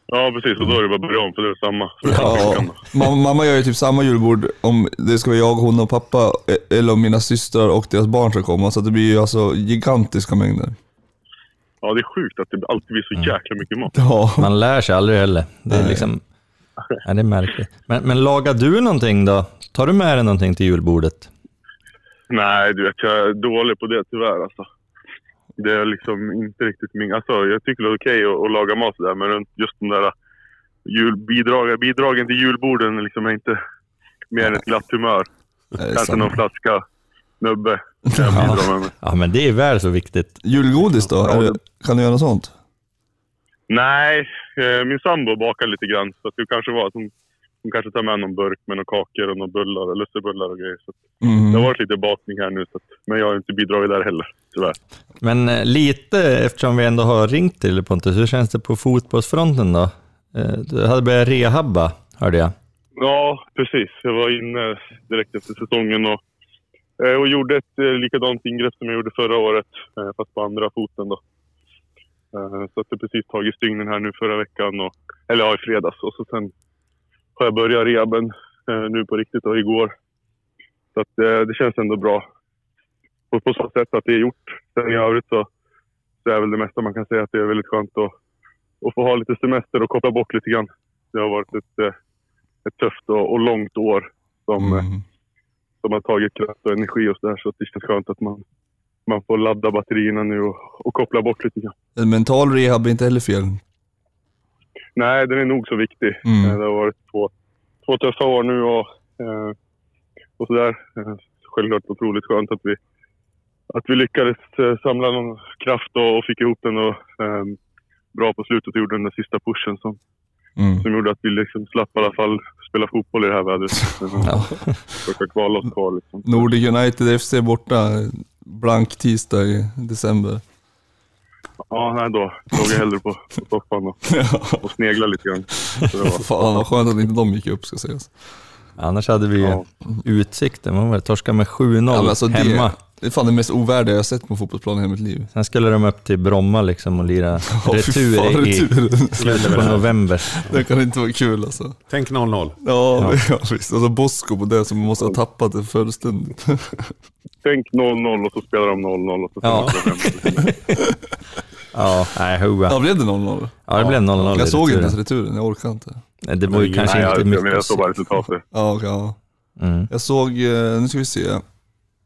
E: ja, precis. Och då är det bara att börja om, för det är samma. Så det är
B: Ja.
E: julskinkan då.
B: Ma- Mamma gör ju typ samma julbord om det ska vara jag, hon och pappa e- eller om mina systrar och deras barn ska komma. Så att det blir ju alltså gigantiska mängder.
E: ja, det är sjukt att det alltid blir så jäkla mycket mat.
B: Ja.
A: Man lär sig aldrig heller. Det är, liksom, ja, det är märkligt. Men, men lagar du någonting då? Tar du med dig någonting till julbordet?
E: Nej, du vet, jag är dålig på det tyvärr alltså. Det är liksom inte riktigt min... Alltså, jag tycker det är okej att, att laga mat där, men just de där äh, jul, bidragen, bidragen till julborden liksom är inte mer än ett glatt humör.
B: det är
E: Kanske
B: sant.
E: någon flaska nubbe kan jag bidra med. men-
A: Ja, men det är väl så viktigt.
B: Julgodis då? Är det, kan du göra något sånt?
E: Nej, eh, min sambo bakar lite grann, så att det kanske var att hon, hon kanske tar med någon burk med några kakor och några bullar, lussebullar och grejer. Så att
B: Mm.
E: Det har varit lite bakning här nu, så att, men jag har inte bidragit där heller, tyvärr.
A: Men eh, lite, eftersom vi ändå har ringt till dig, Pontus, hur känns det på fotbollsfronten då? Eh, Du hade börjat rehabba, hörde jag.
E: Ja, precis. Jag var inne direkt efter säsongen och, eh, och gjorde ett eh, likadant ingrepp som jag gjorde förra året, eh, fast på andra foten. Då. Eh, Så att jag precis tagit stygnen här nu förra veckan, och, eller ja, i fredags. Och så sen har jag börjat rehaben eh, nu på riktigt och igår. Så att, eh, det känns ändå bra. Och på så sätt att det är gjort. Sen i övrigt så, så är väl det mesta man kan säga att det är väldigt skönt att, att få ha lite semester och koppla bort lite grann. Det har varit ett eh, ett tufft och, och långt år som, eh,
B: Mm.
E: som har tagit kraft och energi och sådär. Så att det känns skönt att man, man får ladda batterierna nu och, och koppla bort lite grann.
B: En mental rehab är inte heller fel.
E: Nej, den är nog så viktig.
B: Mm.
E: Eh, Det har varit två, två tuffa år nu och, eh, och sådär. Eh, Självklart otroligt skönt att vi, att vi lyckades eh, samla någon kraft och, och fick ihop den och, ehm, bra på slutet och gjorde den där sista pushen som,
B: Mm.
E: som gjorde att vi liksom slapp i alla fall spela fotboll i det här vädret. eh,
A: Ja.
E: Försöka kvala oss kvar liksom.
B: Nordic United FC borta, blank tisdag i december.
E: Ja, nej då låg jag hellre på på soffan och, och sneglade lite grann. Så det var,
B: Fan vad skönt att inte de gick upp ska sägas.
A: Annars hade vi ju
E: Ja.
A: utsikten. Man var torska med 7-0
B: Ja, men alltså det-
A: hemma.
B: Det är fan det mest ovärdiga jag har sett på en fotbollsplan i hela mitt liv.
A: Sen skulle de upp till Bromma liksom och lira
B: Ja, fy
A: retur
B: fan,
A: i
B: returen.
A: slutet på november.
B: Det kan inte vara kul alltså.
C: Tänk 0-0.
B: Ja, ja. visst. Alltså Bosko på det som måste ha tappat det fullständigt.
E: tänk 0-0 och så spelar de 0-0 och så
A: Ja.
E: spelar de 5
A: Ja, nej,
B: Ja,
A: hova.
B: blev det 0-0?
A: Ja, det blev 0-0 i
B: Jag såg inte
A: returen.
B: ens returen, jag orkade inte.
A: Nej, Det var ju
C: Nej,
A: kanske
E: Nej, jag,
A: inte
E: jag, men
A: mycket
E: jag
A: att se.
E: såg bara resultatet.
B: Ja, okej, ja.
A: Mm.
B: Jag såg, eh, nu ska vi se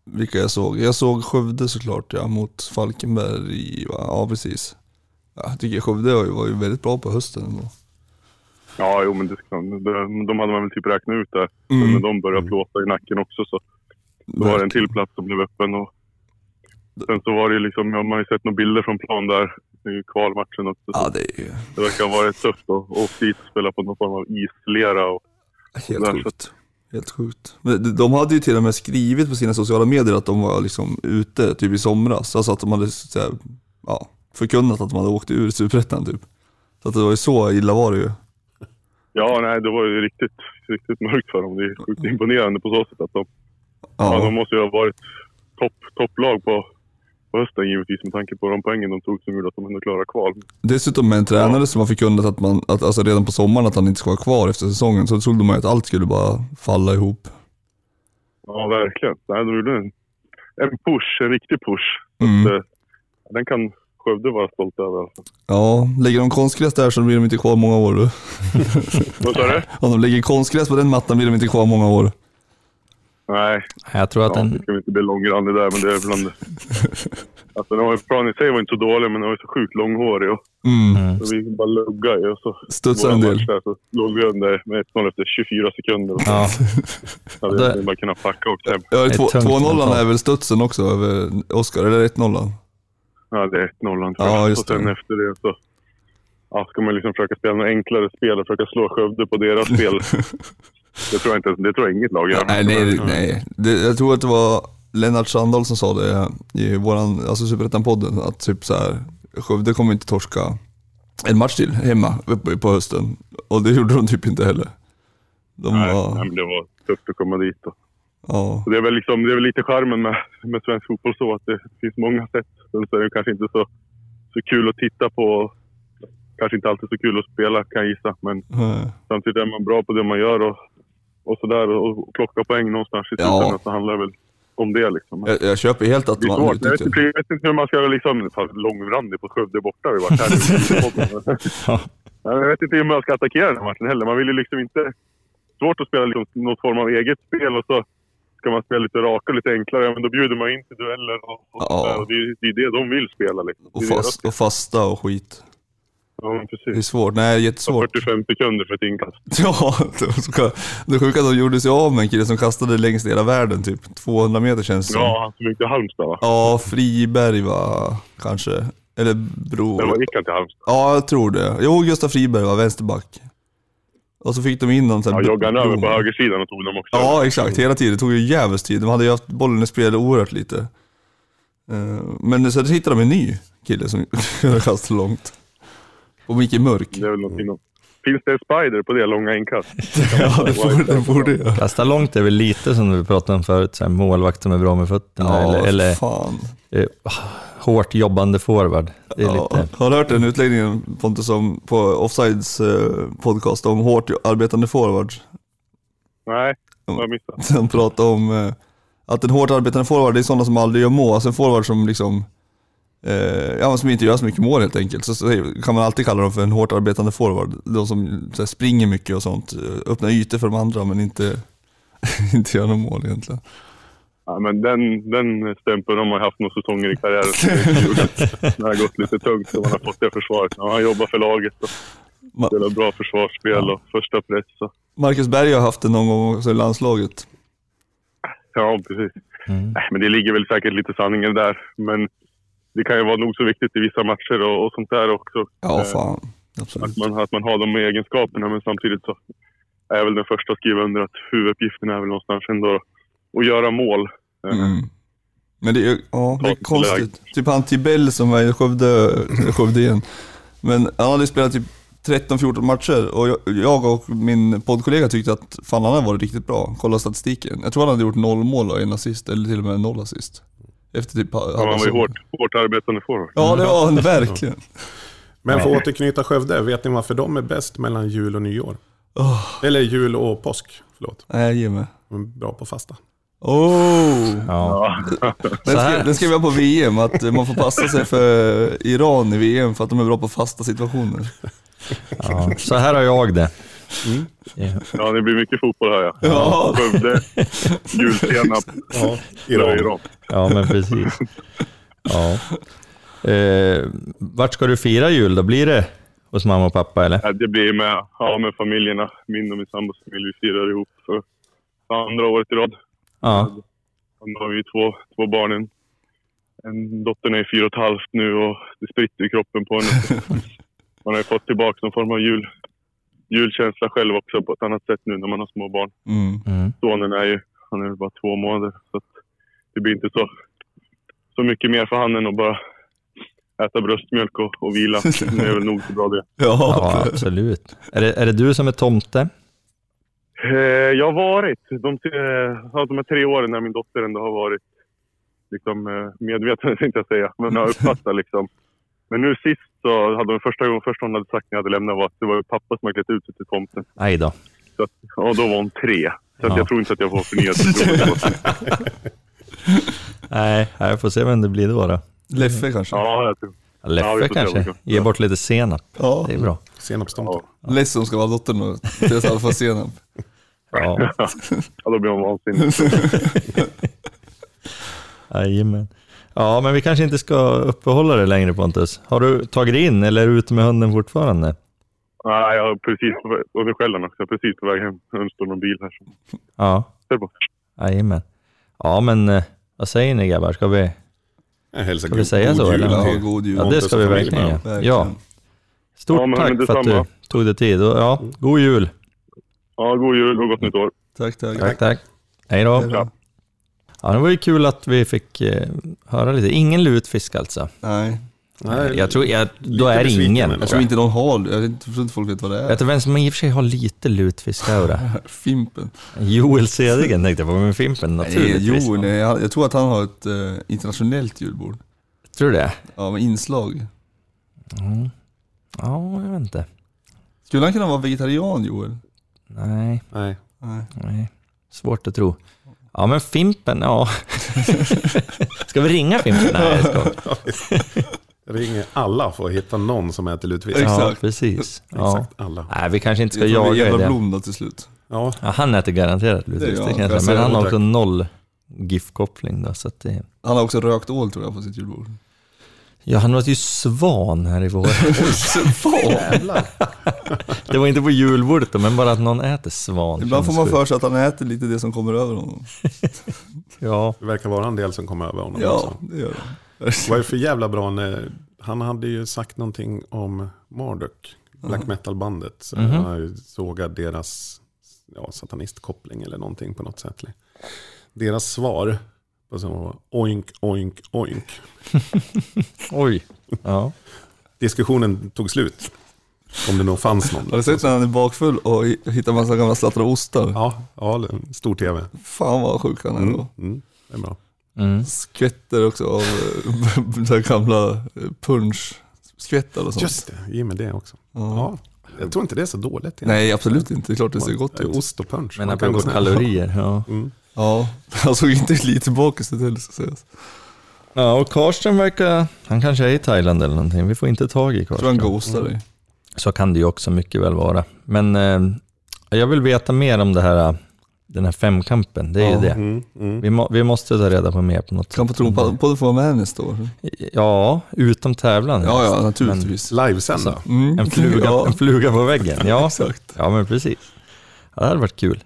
B: vilka jag såg. Jag såg Skövde såklart ja, mot Falkenberg. Va? Ja, precis. Ja, Jag tycker Skövde var ju- var ju väldigt bra på hösten ändå.
E: Ja, jo, men det, ska- de, de hade man väl typ räknat ut där.
A: Mm.
E: Men de började plåta i nacken också. Så Då Mm. var det en till plats som blev öppen. Och sen så var det ju liksom, ja, man har ju sett några bilder från plan där i kvalmatchen också.
B: Ja, det är ju
E: Det verkar ha varit tufft att åka dit och spela på någon form av islera. Och,
B: helt
E: Där.
B: sjukt. Helt sjukt. Men de- De hade ju till och med skrivit på sina sociala medier att de var liksom ute typ i somras. Alltså att de hade så här, ja, förkunnat att de hade åkt ur Superettan typ. Så att det var ju så illa var det ju.
E: ja, nej, det var ju riktigt, riktigt mörkt för dem. Det är sjukt imponerande på så sätt att de, ja. Alltså, de måste ju ha varit topp, topplag på, på hösten givetvis med tanke på de poängen de tog som gjorde att de ändå klarade kval.
B: Dessutom med en tränare som har förkunnat att man, att, alltså redan på sommaren att han inte ska vara kvar efter säsongen. Så trodde man ju att allt skulle bara falla ihop.
E: Ja, verkligen. Nej, de gjorde en, en push, en riktig push.
B: Mm.
E: Det, den kan Skövde vara stolt över. alltså.
B: Ja, lägger de konstgräs där så blir de inte kvar många år du.
E: Vad sa du?
B: Om de lägger konstgräs på den mattan blir de inte kvar många år.
E: Nej,
A: Jag tror att
E: ja, det
A: den...
E: ska vi inte bli långrandig där, men det är bland det. Alltså, den var ju, planen i sig var inte så dålig, men den var ju så sjukt långhårig. Och,
B: Mm.
E: så vi bara luggade ju och så...
B: Studsar
E: våra
B: en del.
E: match Där, så låg vi under med 1-0 efter 24 sekunder. Och så
A: Ja,
E: hade vi bara kunnat packa och åkt hem.
B: Ja,
A: är
B: två-
A: tungt
B: 2-0
A: mentalt.
B: är väl studsen också över Oskar, eller 1-0?
E: Ja, det är 1-0
B: Ja,
E: först.
B: just
E: och sen
B: det.
E: efter det så... Ja, ska man liksom försöka spela något enklare spel och försöka slå Skövde på deras spel. det tror jag inte. Det tror jag inget lag gör.
B: Nej, nej, nej. Det, jag tror att det var Lennart Sandahl som sa det i våran, alltså Superettan-podden, att typ så här, Skövde kommer inte torska en match till hemma uppe på hösten. Och det gjorde de typ inte heller. De
E: Nej,
B: var,
E: nej, men det var tufft att komma dit. Och.
B: ja.
E: Och Det är väl, liksom, det är väl lite charmen med, med svensk fotboll så att det finns många sätt. Sen så är det kanske inte så, så kul att titta på. och Kanske inte alltid så kul att spela kan jag gissa. Men
B: eh,
E: samtidigt är man bra på det man gör och, och sådär. Och, och plocka poäng någonstans i
B: Ja.
E: slutändan så handlar det väl om det liksom.
B: Jag, jag köper helt att
E: Det är typ
B: man
E: svårt. Jag vet, inte,
B: utnyttjar
E: jag vet inte hur man ska liksom... Fan, långrandig på Skövde borta har vi varit här nu.
A: Ja.
E: Nej, Jag vet inte hur man ska attackera den här matchen heller. Man vill ju liksom inte... Svårt att spela liksom något form av eget spel och så ska man spela lite raka och lite enklare. Ja, Men då bjuder man in till dueller och, och,
B: Ja.
E: sådär. och det, är- det är det de vill spela. Liksom. Det
B: och,
E: är deras-
B: fast, och fasta och skit.
E: Ja, men
B: Det är
E: precis.
B: svårt. Nej, jättesvårt.
E: 45 sekunder för ett inkast.
B: Ja, det var så skönt. Det sjuka är att de gjorde sig av med en kille som kastade längst i hela världen, typ 200 meter känns det som.
E: Ja, han som gick till Halmstad va?
B: Ja, Friberg va, kanske. Eller Bro.
E: Eller var- gick han till Halmstad?
B: Ja, jag tror det. Jo, Gustav Friberg var vänsterback. Och så fick de in dem sen.
E: Ja, joggade han över på
B: Bro.
E: högersidan och tog dem också.
B: Ja, exakt. Hela tiden. Det tog ju jävligt tid. De hade ju haft bollen i spel oerhört lite. Eh, Men sen hittade de en ny kille som kunde kasta långt. Och Micke Mörk.
E: Det är väl någonting om... Finns det en spider på det långa inkast?
B: Ja, det borde, det borde jag.
A: Kasta långt är väl lite som vi pratade om förut, så här, målvakt som är bra med fötterna
B: Ja,
A: eller, eller
B: fan.
A: eh, hårt jobbande forward. Det är
B: Ja,
A: lite...
B: Har du hört den utläggningen Pontus om, på Offsides eh, podcast om hårt arbetande forwards?
E: Nej, jag missade.
B: Han pratade om eh, att en hårt arbetande forward det är sådana som aldrig gör mål. Alltså en forward som liksom eh, ja, men som inte gör så mycket mål helt enkelt. Så, så kan man alltid kalla dem för en hårt arbetande forward. De som så här, springer mycket och sånt. eh, Öppnar ytor för de andra men inte, inte gör några mål egentligen.
E: Ja, men den, den stämpeln de har haft några säsonger i karriären. så det är kul. Det har gått lite tungt så man har fått det försvaret. Ja, han jobbar för laget och
B: Ma-
E: spelar bra försvarsspel och första press. Så.
B: Marcus Berg har haft det någon gång också i landslaget.
E: Ja, precis. Nej, Men det ligger väl säkert lite sanning i det där. Men det kan ju vara nog så viktigt i vissa matcher och, och sånt där också.
B: Ja,
E: Eh,
B: fan. Absolut.
E: Att man, att man har de egenskaperna, men samtidigt så är jag väl den första att skriva under att huvuduppgiften är väl någonstans ändå att göra mål. Eh,
B: Mm. Men det är ju ja, det är
E: Konstigt
B: konstigt. Typ han Tibell som var i Skövde, eh, Skövde igen. Men han hade spelat typ 13-14 matcher och jag- jag och min poddkollega tyckte att fan han hade varit riktigt bra. Kolla statistiken. Jag tror han hade gjort noll mål och en assist, eller till och med noll assist. Efter typ...
E: Han var ju hårt, hårt arbetande forward.
B: Ja, det var han verkligen.
C: Men för att återknyta Skövde, vet ni varför de är bäst mellan jul och nyår?
B: Oh,
C: Eller jul och påsk, förlåt.
B: nej, ge mig.
C: De är bra på fasta.
B: Oh!
A: Ja.
B: Den skrev, den skrev jag på VM, att eh, man får passa sig för eh, Iran i VM för att de är bra på fasta situationer.
A: Ja. Så här har jag det. Ja.
E: Ja, det blir mycket fotboll här ja.
B: Ja.
E: Skövde, julsenap,
C: Ja,
E: Iran. Iran.
A: Ja, men precis. Ja. Eh, vart ska du fira jul då? Blir det hos mamma och pappa eller?
E: Ja, det blir med, ja, med familjerna. Min och min sambos familj, vi firar ihop för andra året i rad.
A: Ja.
E: Han har ju två, två barn. En, en dottern är fyra och ett halvt nu och det spritter i kroppen på henne. Man har ju fått tillbaka någon form av jul, julkänsla själv också på ett annat sätt nu när man har små barn.
B: Mm.
A: Mm.
E: Sonen är ju han är ju bara två månader så att det blir inte så, så mycket mer för han än att bara äta bröstmjölk och, och vila. Det är väl nog så bra det.
A: Ja, absolut. Är det, är det du som är tomte?
E: Eh, jag har varit, de, eh, ja, de här tre åren när min dotter ändå har varit liksom, eh, medveten, tänkte jag säga, men har uppfattat liksom. Men nu sist så hade hon första gången, första hon hade sagt när jag hade lämnat var att det var ju pappa som hade klätt ut sig till tomten.
A: Nej då.
E: Så att, och då var hon tre. Så att
A: Ja.
E: jag tror inte att jag får förnyat förtroende.
A: Nej, jag får se vem det blir då. då.
B: Leffe kanske?
E: Ja, jag tror.
A: Leffe
E: Ja, vi får se vad vi
A: kanske.
E: kan-
A: Ge bort lite senap.
B: Ja.
A: Det är bra.
C: Senapstomten.
B: Less som ska vara dottern och Therese Alfa senap.
A: Ja,
E: Ja, då blir hon vansinnig.
A: jajamän. Ja, men vi kanske inte ska uppehålla det längre Pontus. Har du tagit dig in eller är du ute med hunden fortfarande?
E: Nej, jag har precis, på vä- och nu skäller han också. Jag är precis på väg hem. Nu står någon bil här. som-
A: Ja,
E: Där bort.
A: jajamän. Ja, men eh, vad säger ni grabbar? Ska vi,
C: Jag hälsar
A: Ska vi säga så,
C: jul
A: eller?
C: till-
B: Ja, god jul.
A: ja, det
C: Pontus
A: ska
C: och
A: vi
C: familjen,
A: verkligen
C: ja.
A: göra.
B: Verkligen.
A: Ja. Stort
E: Ja, men
A: tack för att du
E: detsamma.
A: tog dig tid. Och, ja, god jul.
E: Ja, god jul och gott nytt år.
B: Tack, tack.
A: Tack, tack. Hej då.
E: Ja.
A: Ja, det var ju kul att vi fick eh, höra lite. Ingen lutfisk alltså.
B: Nej,
C: Nej,
A: Eh, jag tror, jag, då
C: lite
A: är det
C: besviken,
A: ingen.
C: eller?
B: jag tror inte någon har det. Jag vet inte- jag tror inte folk vet vad det
A: Vet du
B: är.
A: vem som i och för sig har lite lutfisk här och där?
B: Fimpen.
A: Joel Cedergren tänkte jag på, men Fimpen
B: Nej,
A: naturligtvis.
B: jo, nej, jag jag tror att han har ett eh, internationellt julbord.
A: Tror du det? Mm.
B: Ja, med inslag.
A: Ja, jag vet inte.
B: Skulle han kunna vara vegetarian, Joel?
A: Nej,
C: Nej.
B: Nej.
A: nej. Svårt att tro. Ja, men Fimpen, ja. Ska vi ringa Fimpen? Nej, jag skojar.
C: Jag ringer alla för att hitta någon som äter lutfisk.
B: Exakt.
A: Ja, precis. Ja.
C: Exakt alla.
A: Nej, vi kanske inte ska
B: Jag tror det är
A: jaga i
B: Eva
A: det.
B: Blom då till slut.
C: Ja,
A: Ja, han äter garanterat
B: Det
A: lutfisk,
B: gör
A: det kan
B: han.
A: jag
C: Jag
A: säga. Men
C: ser
A: han har
C: det.
A: också noll GIF-koppling då, så att det...
B: Han har också rökt ål tror jag på sitt julbord.
A: Ja, han åt ju svan här i vår.
C: jävlar.
A: Det var inte på julbordet då, men bara att någon äter svan.
B: Ibland får
A: känns
B: man
A: sjukt.
B: för sig att han äter lite det som kommer över honom.
A: Ja,
C: Det verkar vara en del som kommer över honom
B: Ja,
C: också.
B: det gör han.
C: Vad är det för jävla bra när han hade ju sagt någonting om Marduk,
A: Mm.
C: black metal-bandet. Så
A: Mhm.
C: Han har ju sågat deras ja, satanistkoppling eller någonting på något sätt. Deras svar på som var oink, oink, oink.
A: oj. Ja.
C: Diskussionen tog slut. Om det nog fanns någon.
B: Har du sett när han är bakfull och hittar massa gamla slattar och ostar?
C: Ja, ja stor tv.
B: Fan vad sjuk han är då.
C: Mm, det är bra.
A: Mm.
B: Skvätter också av eh, så här gamla punch-skvättar och sånt.
C: Just det, ge mig det också.
B: Ja.
C: Ja, jag tror inte det är så dåligt. egentligen.
B: Mm. Nej, absolut inte. Det är klart det ser gott
C: Det är
B: ut.
C: Ost och punch.
A: Men
C: Man kan gå
A: apropå
C: snett.
A: kalorier, ja.
B: Ja, han såg inte lite bakis ut heller ska sägas.
A: Ja, och Karsten verkar... Han kanske är i Thailand eller någonting. Vi får inte tag i
B: Jag tror han
A: Karsten.
B: ghostar dig.
A: Så kan det ju också mycket väl vara. Men eh, jag vill veta mer om det här, den här femkampen. Det är ju det.
C: Mm, mm.
A: Vi, må, vi måste ta reda på mer på något
B: Kan på tron på på att få vara med nästa år.
A: Ja, utom tävlan.
B: Ja, ja, naturligtvis.
C: Livesända.
B: Mm.
A: En fluga,
B: Ja.
A: en fluga på väggen. Ja,
B: Exakt.
A: ja men precis. Ja, det hade varit kul.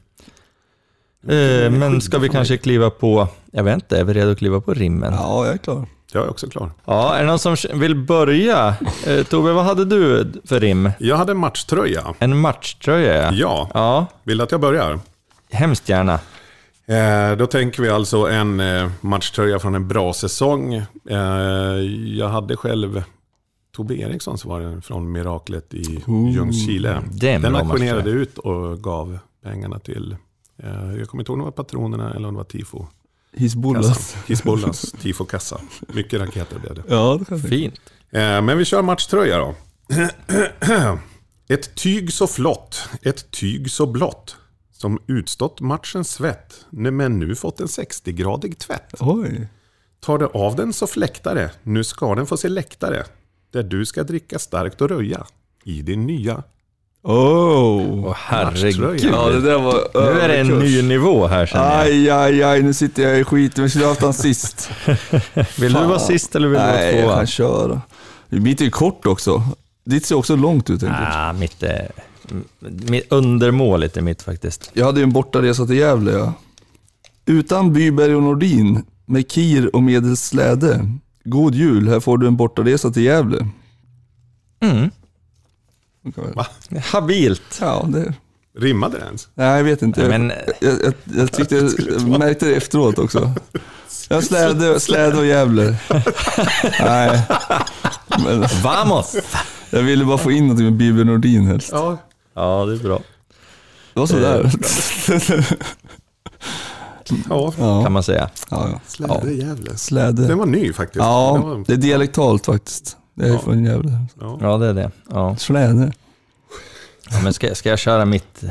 A: Eh, men ska vi kanske kliva på, jag vet inte, är vi redo att kliva på rimmen? Ja,
B: Ja, jag är klar.
C: Jag är också klar.
A: är det någon som vill börja? Eh, Tobbe, vad hade du för rim?
C: Jag hade en matchtröja.
A: En matchtröja?
C: Ja,
A: ja.
C: vill du att jag börjar?
A: Hemskt gärna.
C: Eh, Då tänker vi alltså en eh, matchtröja från en bra säsong. Eh, Jag hade själv Tobbe Erikssons var det från Miraklet i
B: Ooh.
C: Ljungskile.
A: Det är en
C: Den
A: bra match,
C: auktionerade
A: tror
C: ut och gav pengarna till, eh, jag kommer inte ihåg om det var patronerna eller om det var tifo.
B: Hisbollas.
C: Hisbollas tifokassa. Mycket raketer blev det.
B: Ja, det kan jag
A: jag.
B: tänka.
A: Fint.
C: Eh, Men vi kör matchtröja då. ett tyg så flott, ett tyg så blått. Som utstått matchens svett, nu- men nu fått en 60-gradig tvätt.
B: Oj.
C: Tar du av den så fläktar det, nu ska den få se läktare. Där du ska dricka starkt och röja. I din nya
B: Oh.
A: Åh herregud.
C: Matchtröja.
B: Ja, det där var
A: Nu är det en
B: överkurs.
A: ny nivå här känner jag.
B: Aj, aj, aj, nu sitter jag i skiten. Vi skulle haft han sist.
A: Vill du
B: fan.
A: vara sist eller vill du
B: Nej, jag
A: vara tvåa?
B: kan köra. Mitt är kort också. Ditt ser också långt ut enkelt.
A: Ah, mitt, eh, m- mitt undermåligt är mitt faktiskt.
B: Jag hade ju en bortaresa till Gävle. Ja. Utan Byberg och Nordin, med kir och medelsläde. God jul, här får du en bortaresa till Gävle.
A: Mm.
B: Va?
A: Habilt.
B: Ja, det...
C: Rimmade det ens?
B: Nej, jag vet inte.
A: Nej, men-
B: jag, jag, jag, jag tyckte jag märkte det efteråt också. Jag släde, släde och Gävle. Nej, men
A: Vamos!
B: jag ville bara få in någonting med Byberg och Nordin helst.
C: Ja.
A: Ja, det är bra.
B: Det var sådär.
C: Ja,
A: Kan man säga.
B: Ja, ja.
C: släde Gävle. Den
B: Släde.
C: var ny faktiskt. Den
B: Ja,
C: var,
B: det är dialektalt faktiskt. Det är från Gävle.
C: ja.
A: Ja, det är det. Ja.
B: Släde.
A: Ja, Men ska, ska jag köra mitt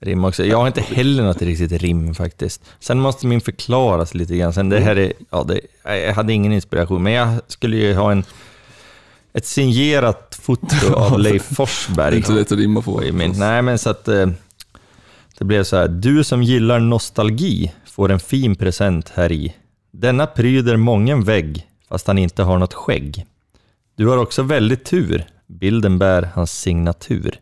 A: rim också? Jag har inte heller något riktigt rim faktiskt. Sen måste min förklaras lite grann. Sen det här är, ja, det, jag hade ingen inspiration, men jag skulle ju ha en, ett signerat foto av Leif
B: Det är
A: Forsberg.
B: inte lätt att rimma på.
A: i min, nej, men så att eh, det blev så här. Du som gillar nostalgi får en fin present här i. Denna pryder mången vägg, fast han inte har något skägg. Du har också väldigt tur. Bilden bär hans signatur.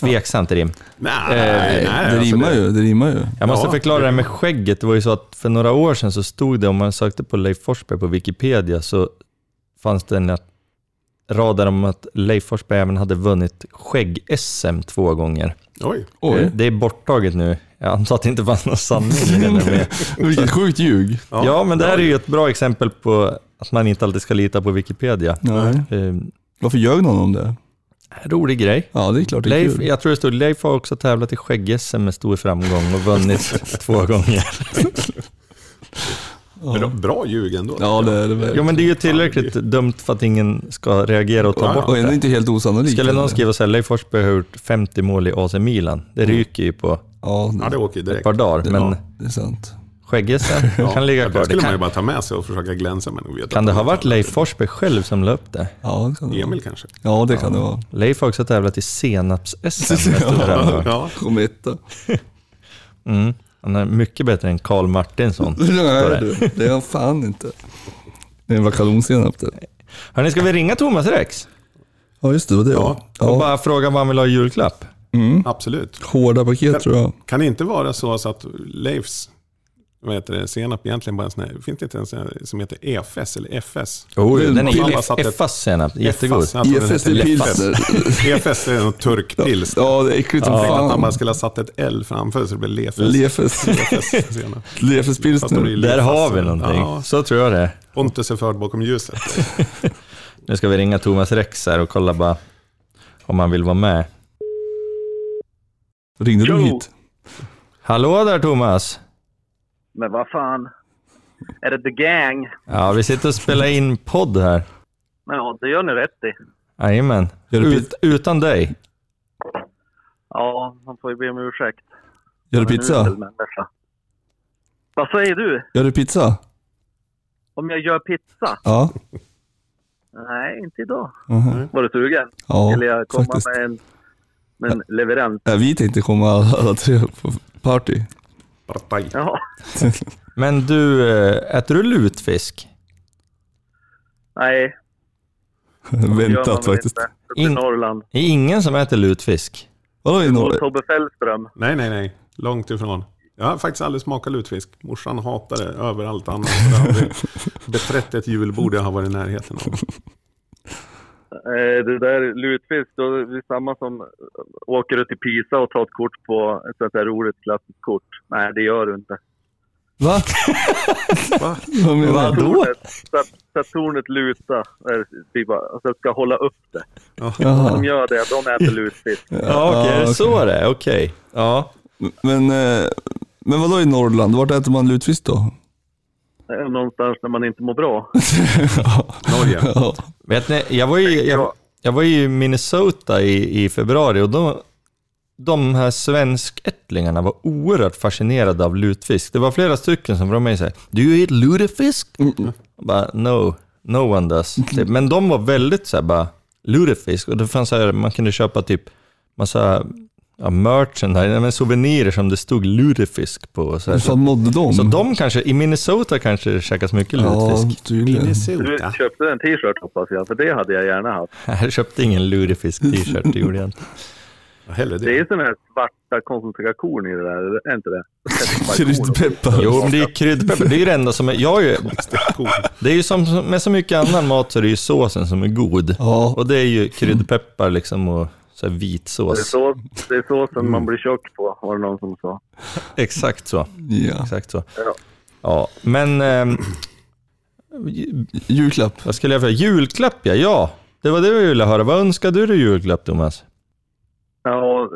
A: Tveksamt rim.
C: Nej,
A: Eh,
C: nej,
B: Det
C: alltså
B: rimmar ju, det rimmar ju.
A: Jag måste
C: Ja.
A: förklara det här med skägget. Det var ju så att för några år sedan så stod det, om man sökte på Leif Forsberg på Wikipedia, så fanns det en rad där om att Leif Forsberg även hade vunnit skägg-SM två gånger.
C: Oj.
A: Eh,
B: Oj,
A: Det är borttaget nu. Jag antar att det inte fanns någon sanning i det där med.
B: vilket sjukt ljug.
A: Ja, men det här är ju ett bra exempel på att man inte alltid ska lita på Wikipedia.
B: Nej.
A: Eh,
B: Varför ljög någon om det?
A: rolig grej.
B: Ja, det är klart det är
A: Leif,
B: kul.
A: jag tror det stod Leif har också tävlat i skägg-SM med stor framgång och vunnit två gånger.
C: Bra, bra ljug ändå.
B: Ja, det är det
A: Jo,
B: väl.
A: men det är ju tillräckligt dumt för att ingen ska reagera och ta bort
B: Och ändå
A: det.
B: inte helt osannolikt.
A: Skulle någon
B: eller?
A: skriva så här, Leif Forsberg har gjort 50 mål i AC Milan. Det ryker ju på
B: Ja,
C: Ja, det
B: det,
C: åker ju
A: ett
C: direkt.
A: par dagar, men
B: det är sant.
A: skägg-SM
C: Ja,
A: kan
C: ja,
A: ligga
C: det
A: kvar.
C: skulle
A: Det
C: man ju
A: kan,
C: bara ta med sig och försöka glänsa med. och veta
A: kan det
C: att man
A: ha
C: har
A: varit
C: tävlat.
A: Leif Forsberg själv som la upp det?
B: Ja, det kan det vara.
C: Emil kanske?
B: Ja, det kan det vara.
A: Leif har också tävlat i senaps-SM. med stor framgång.
C: Ja.
B: Kom etta.
A: Mm. Han är mycket bättre än Karl Martinsson.
B: Nej, du. Det är han fan inte. Det är en kalonsenap det.
A: Hörni, ska vi ringa Thomas Rex
B: Ja, just det. Vad det var.
C: Ja,
A: och
B: Ja,
A: bara fråga vad han vill ha i julklapp? Mm.
C: Absolut.
B: hårda paket tror jag.
C: Kan det inte vara så, så att Leifs vad heter det, senap egentligen bara en sån här, finns det inte en sån här som heter EFS eller FS?
A: Oh,
B: Det är
A: den
B: en
A: är
C: pilla
A: ju
C: satt ett-
A: FAS senap, jättegod.
C: FS, jag tror den
B: EFS
C: heter
B: är
C: Leffas.
B: pilsner.
C: EFS är en turkpils.
B: Ja, det är äckligt som
C: Jag tänkte att man bara
B: fan.
C: skulle ha satt ett L framför så det blir Lefes.
B: Lefes,
C: EFS senap.
B: Lefes
C: Fast det blir
B: pilsner.
A: Där
C: Lefas.
A: har vi någonting.
C: Ja,
A: Så tror jag det är.
C: Pontus är förd bakom ljuset.
A: Nu ska vi ringa Thomas Rex här och kolla bara om han vill vara med.
B: Ringde du
F: Jo.
B: hit?
A: Hallå där Thomas!
F: Men vad fan? Är det The Gang?
A: Ja, vi sitter och spelar in podd här.
F: Ja, det gör ni rätt i.
A: Jajamän.
B: Gör du
A: Ut, utan dig.
F: Ja, man får ju be om ursäkt.
B: Gör du
F: Men nu är det väl
B: pizza?
F: människa. Vad säger du?
B: Gör du pizza?
F: Om jag gör pizza?
B: Ja.
F: Nej, inte idag. Mm.
B: Mhm.
F: Var du sugen?
B: Ja,
F: Eller jag komma
B: faktiskt.
F: med en, med en leverans?
B: Ja, vi tänkte komma alla, alla tre på party.
C: Partaj.
F: Ja.
A: Men du, eh, äter du lutfisk?
F: Nej, det gör man
B: Väntat
F: väl
B: faktiskt.
F: inte. Uppe i
A: In-
F: Norrland.
A: Det är ingen som äter lutfisk.
B: Vadå i
F: Och
B: Norge?
F: Tobbe Fällström.
C: Nej, nej, nej. Långt ifrån. Jag har faktiskt aldrig smakat lutfisk. Morsan hatar det överallt annars. Jag har aldrig beträtt ett julbord jag har varit i närheten av.
F: Eh, det där lutfisk, då är det samma som eh, åker ut till Pisa och tar ett kort på ett sånt där roligt klassiskt kort. Nej, det gör du inte.
B: Va?
C: Va?
B: Vad menar du?
A: Vadå?
F: Tornet, så, att, så att tornet lutar, är typ, bara- så att ska hålla upp det. De
B: Jaha.
F: gör det, de äter lutfisk.
A: Ja, okej, är det så det är? Okej. Ja.
B: Men, eh, men vadå i Norrland? Vart äter man lutfisk då?
F: Det är Eh, Någonstans när man inte mår bra.
C: Norge.
B: Ja.
A: Vet ni, jag var ju, jag, jag var ju i Minnesota i, i februari och då, de här svenskättlingarna var oerhört fascinerade av lutfisk. Det var flera stycken som frågade mig såhär, “Do you eat lutefisk?” Jag bara, “No, no one does”. Typ. Men de var väldigt såhär bara, lutefisk. Och det fanns såhär, man kunde köpa typ massa ja, merchandise, nej, men souvenirer som det stod lutefisk på. och Så, här.
B: Hur fan
A: så,
B: mådde de?
A: så de kanske, i Minnesota kanske det käkas mycket
B: Ja,
A: lutefisk.
B: tydligen.
F: Du
C: Minnesota.
F: köpte en t-shirt hoppas jag, för det hade jag gärna haft.
A: Jag köpte ingen lurefisk t-shirt, det gjorde jag inte.
C: Ja, Hellre
F: Det är
C: det.
F: ju sådana här svarta koncentrakorn i det där, eller? är inte det?
B: Kryddpeppar.
A: Jo, men det är kryddpeppar. Det är ju det enda som är... Jag är ju,
C: Cool.
A: det är ju som som med så mycket annan mat så är det ju såsen som är god.
B: Ja,
A: Och det är ju kryddpeppar liksom och så här
F: Det är,
A: vitsås.
F: så, det är såsen man blir tjock på, var det någon som sa.
A: Exakt så.
B: ja.
A: Exakt så.
F: Ja.
A: Ja, men... ehm,
B: Julklapp.
A: vad skulle jag säga? Julklapp, ja. ja. Det var det jag ville höra. Vad önskar du dig i julklapp, Thomas?
F: Ja, och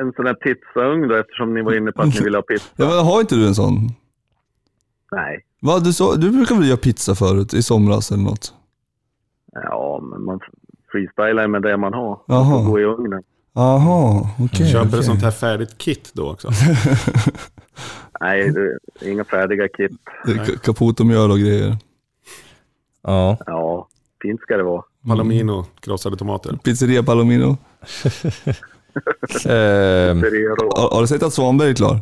F: en sån här pizzaugn då, eftersom ni var inne på att ni ville ha pizza.
B: Ja, men har inte du en sån?
F: Nej,
B: Va, du, så, du brukar väl göra pizza förut? I somras eller något?
F: ja, men man freestylar med det man har.
B: Jaha.
F: Man får gå i ugnen.
B: Jaha, okej.
C: Köper
B: okej.
C: ett sånt här färdigt kit då också.
F: Nej, det är inga färdiga kit.
B: Det är ka- Caputomjöl och grejer.
A: Ja.
F: Ja, fint ska det vara.
C: Palomino, krossade tomater.
B: Pizzeria Palomino.
A: Ehm, Mm.
F: Det är då.
B: Har, har du sett att Svanberg är klar?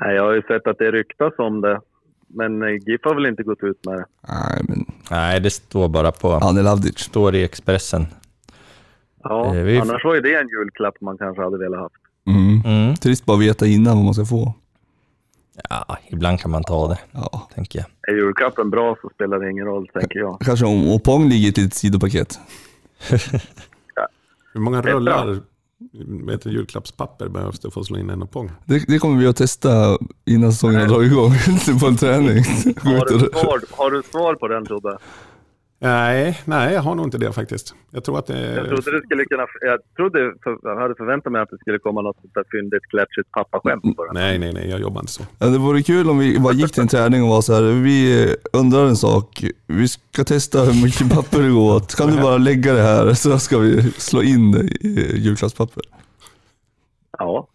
F: Nej, jag har ju sett att det ryktas om det. Men eh, GIF har väl inte gått ut med det.
B: Nej, men
A: nej, det står bara på...
B: han är Lavdic.
A: Står i Expressen.
F: Ja,
A: Eh, vi-
F: annars var ju det en julklapp man kanske hade velat haft.
B: Mm.
A: Mm.
B: Trist bara att veta innan vad man ska få.
A: Ja, ibland kan man ta det,
B: Ja.
A: tänker jag.
F: Är julklappen bra så spelar det ingen roll, tänker jag.
B: Kanske om Opong ligger i ett litet sidopaket.
C: Hur många rullar vet du, julklappspapper behövs det för att slå in en pong?
B: Det, det kommer vi att testa innan säsongen har dragit igång. på en träning. Gå
F: Har
B: ut
F: du,
B: och-
F: svar, har du svar på den, Tobbe?
C: Nej, nej, jag har nog inte det faktiskt. Jag tror att det
F: Jag
C: är...
F: trodde, det skulle kunna, jag trodde för, jag hade förväntat mig att det skulle komma något sånt där fyndigt, klatschigt pappaskämt på den.
C: Nej, nej, nej, jag jobbar inte så.
B: Ja, Det vore kul om vi bara gick till en träning och var så här. vi undrar en sak. Vi ska testa hur mycket papper det går åt. Kan du bara lägga det här så ska vi slå in det i julklappspapper.
F: Ja.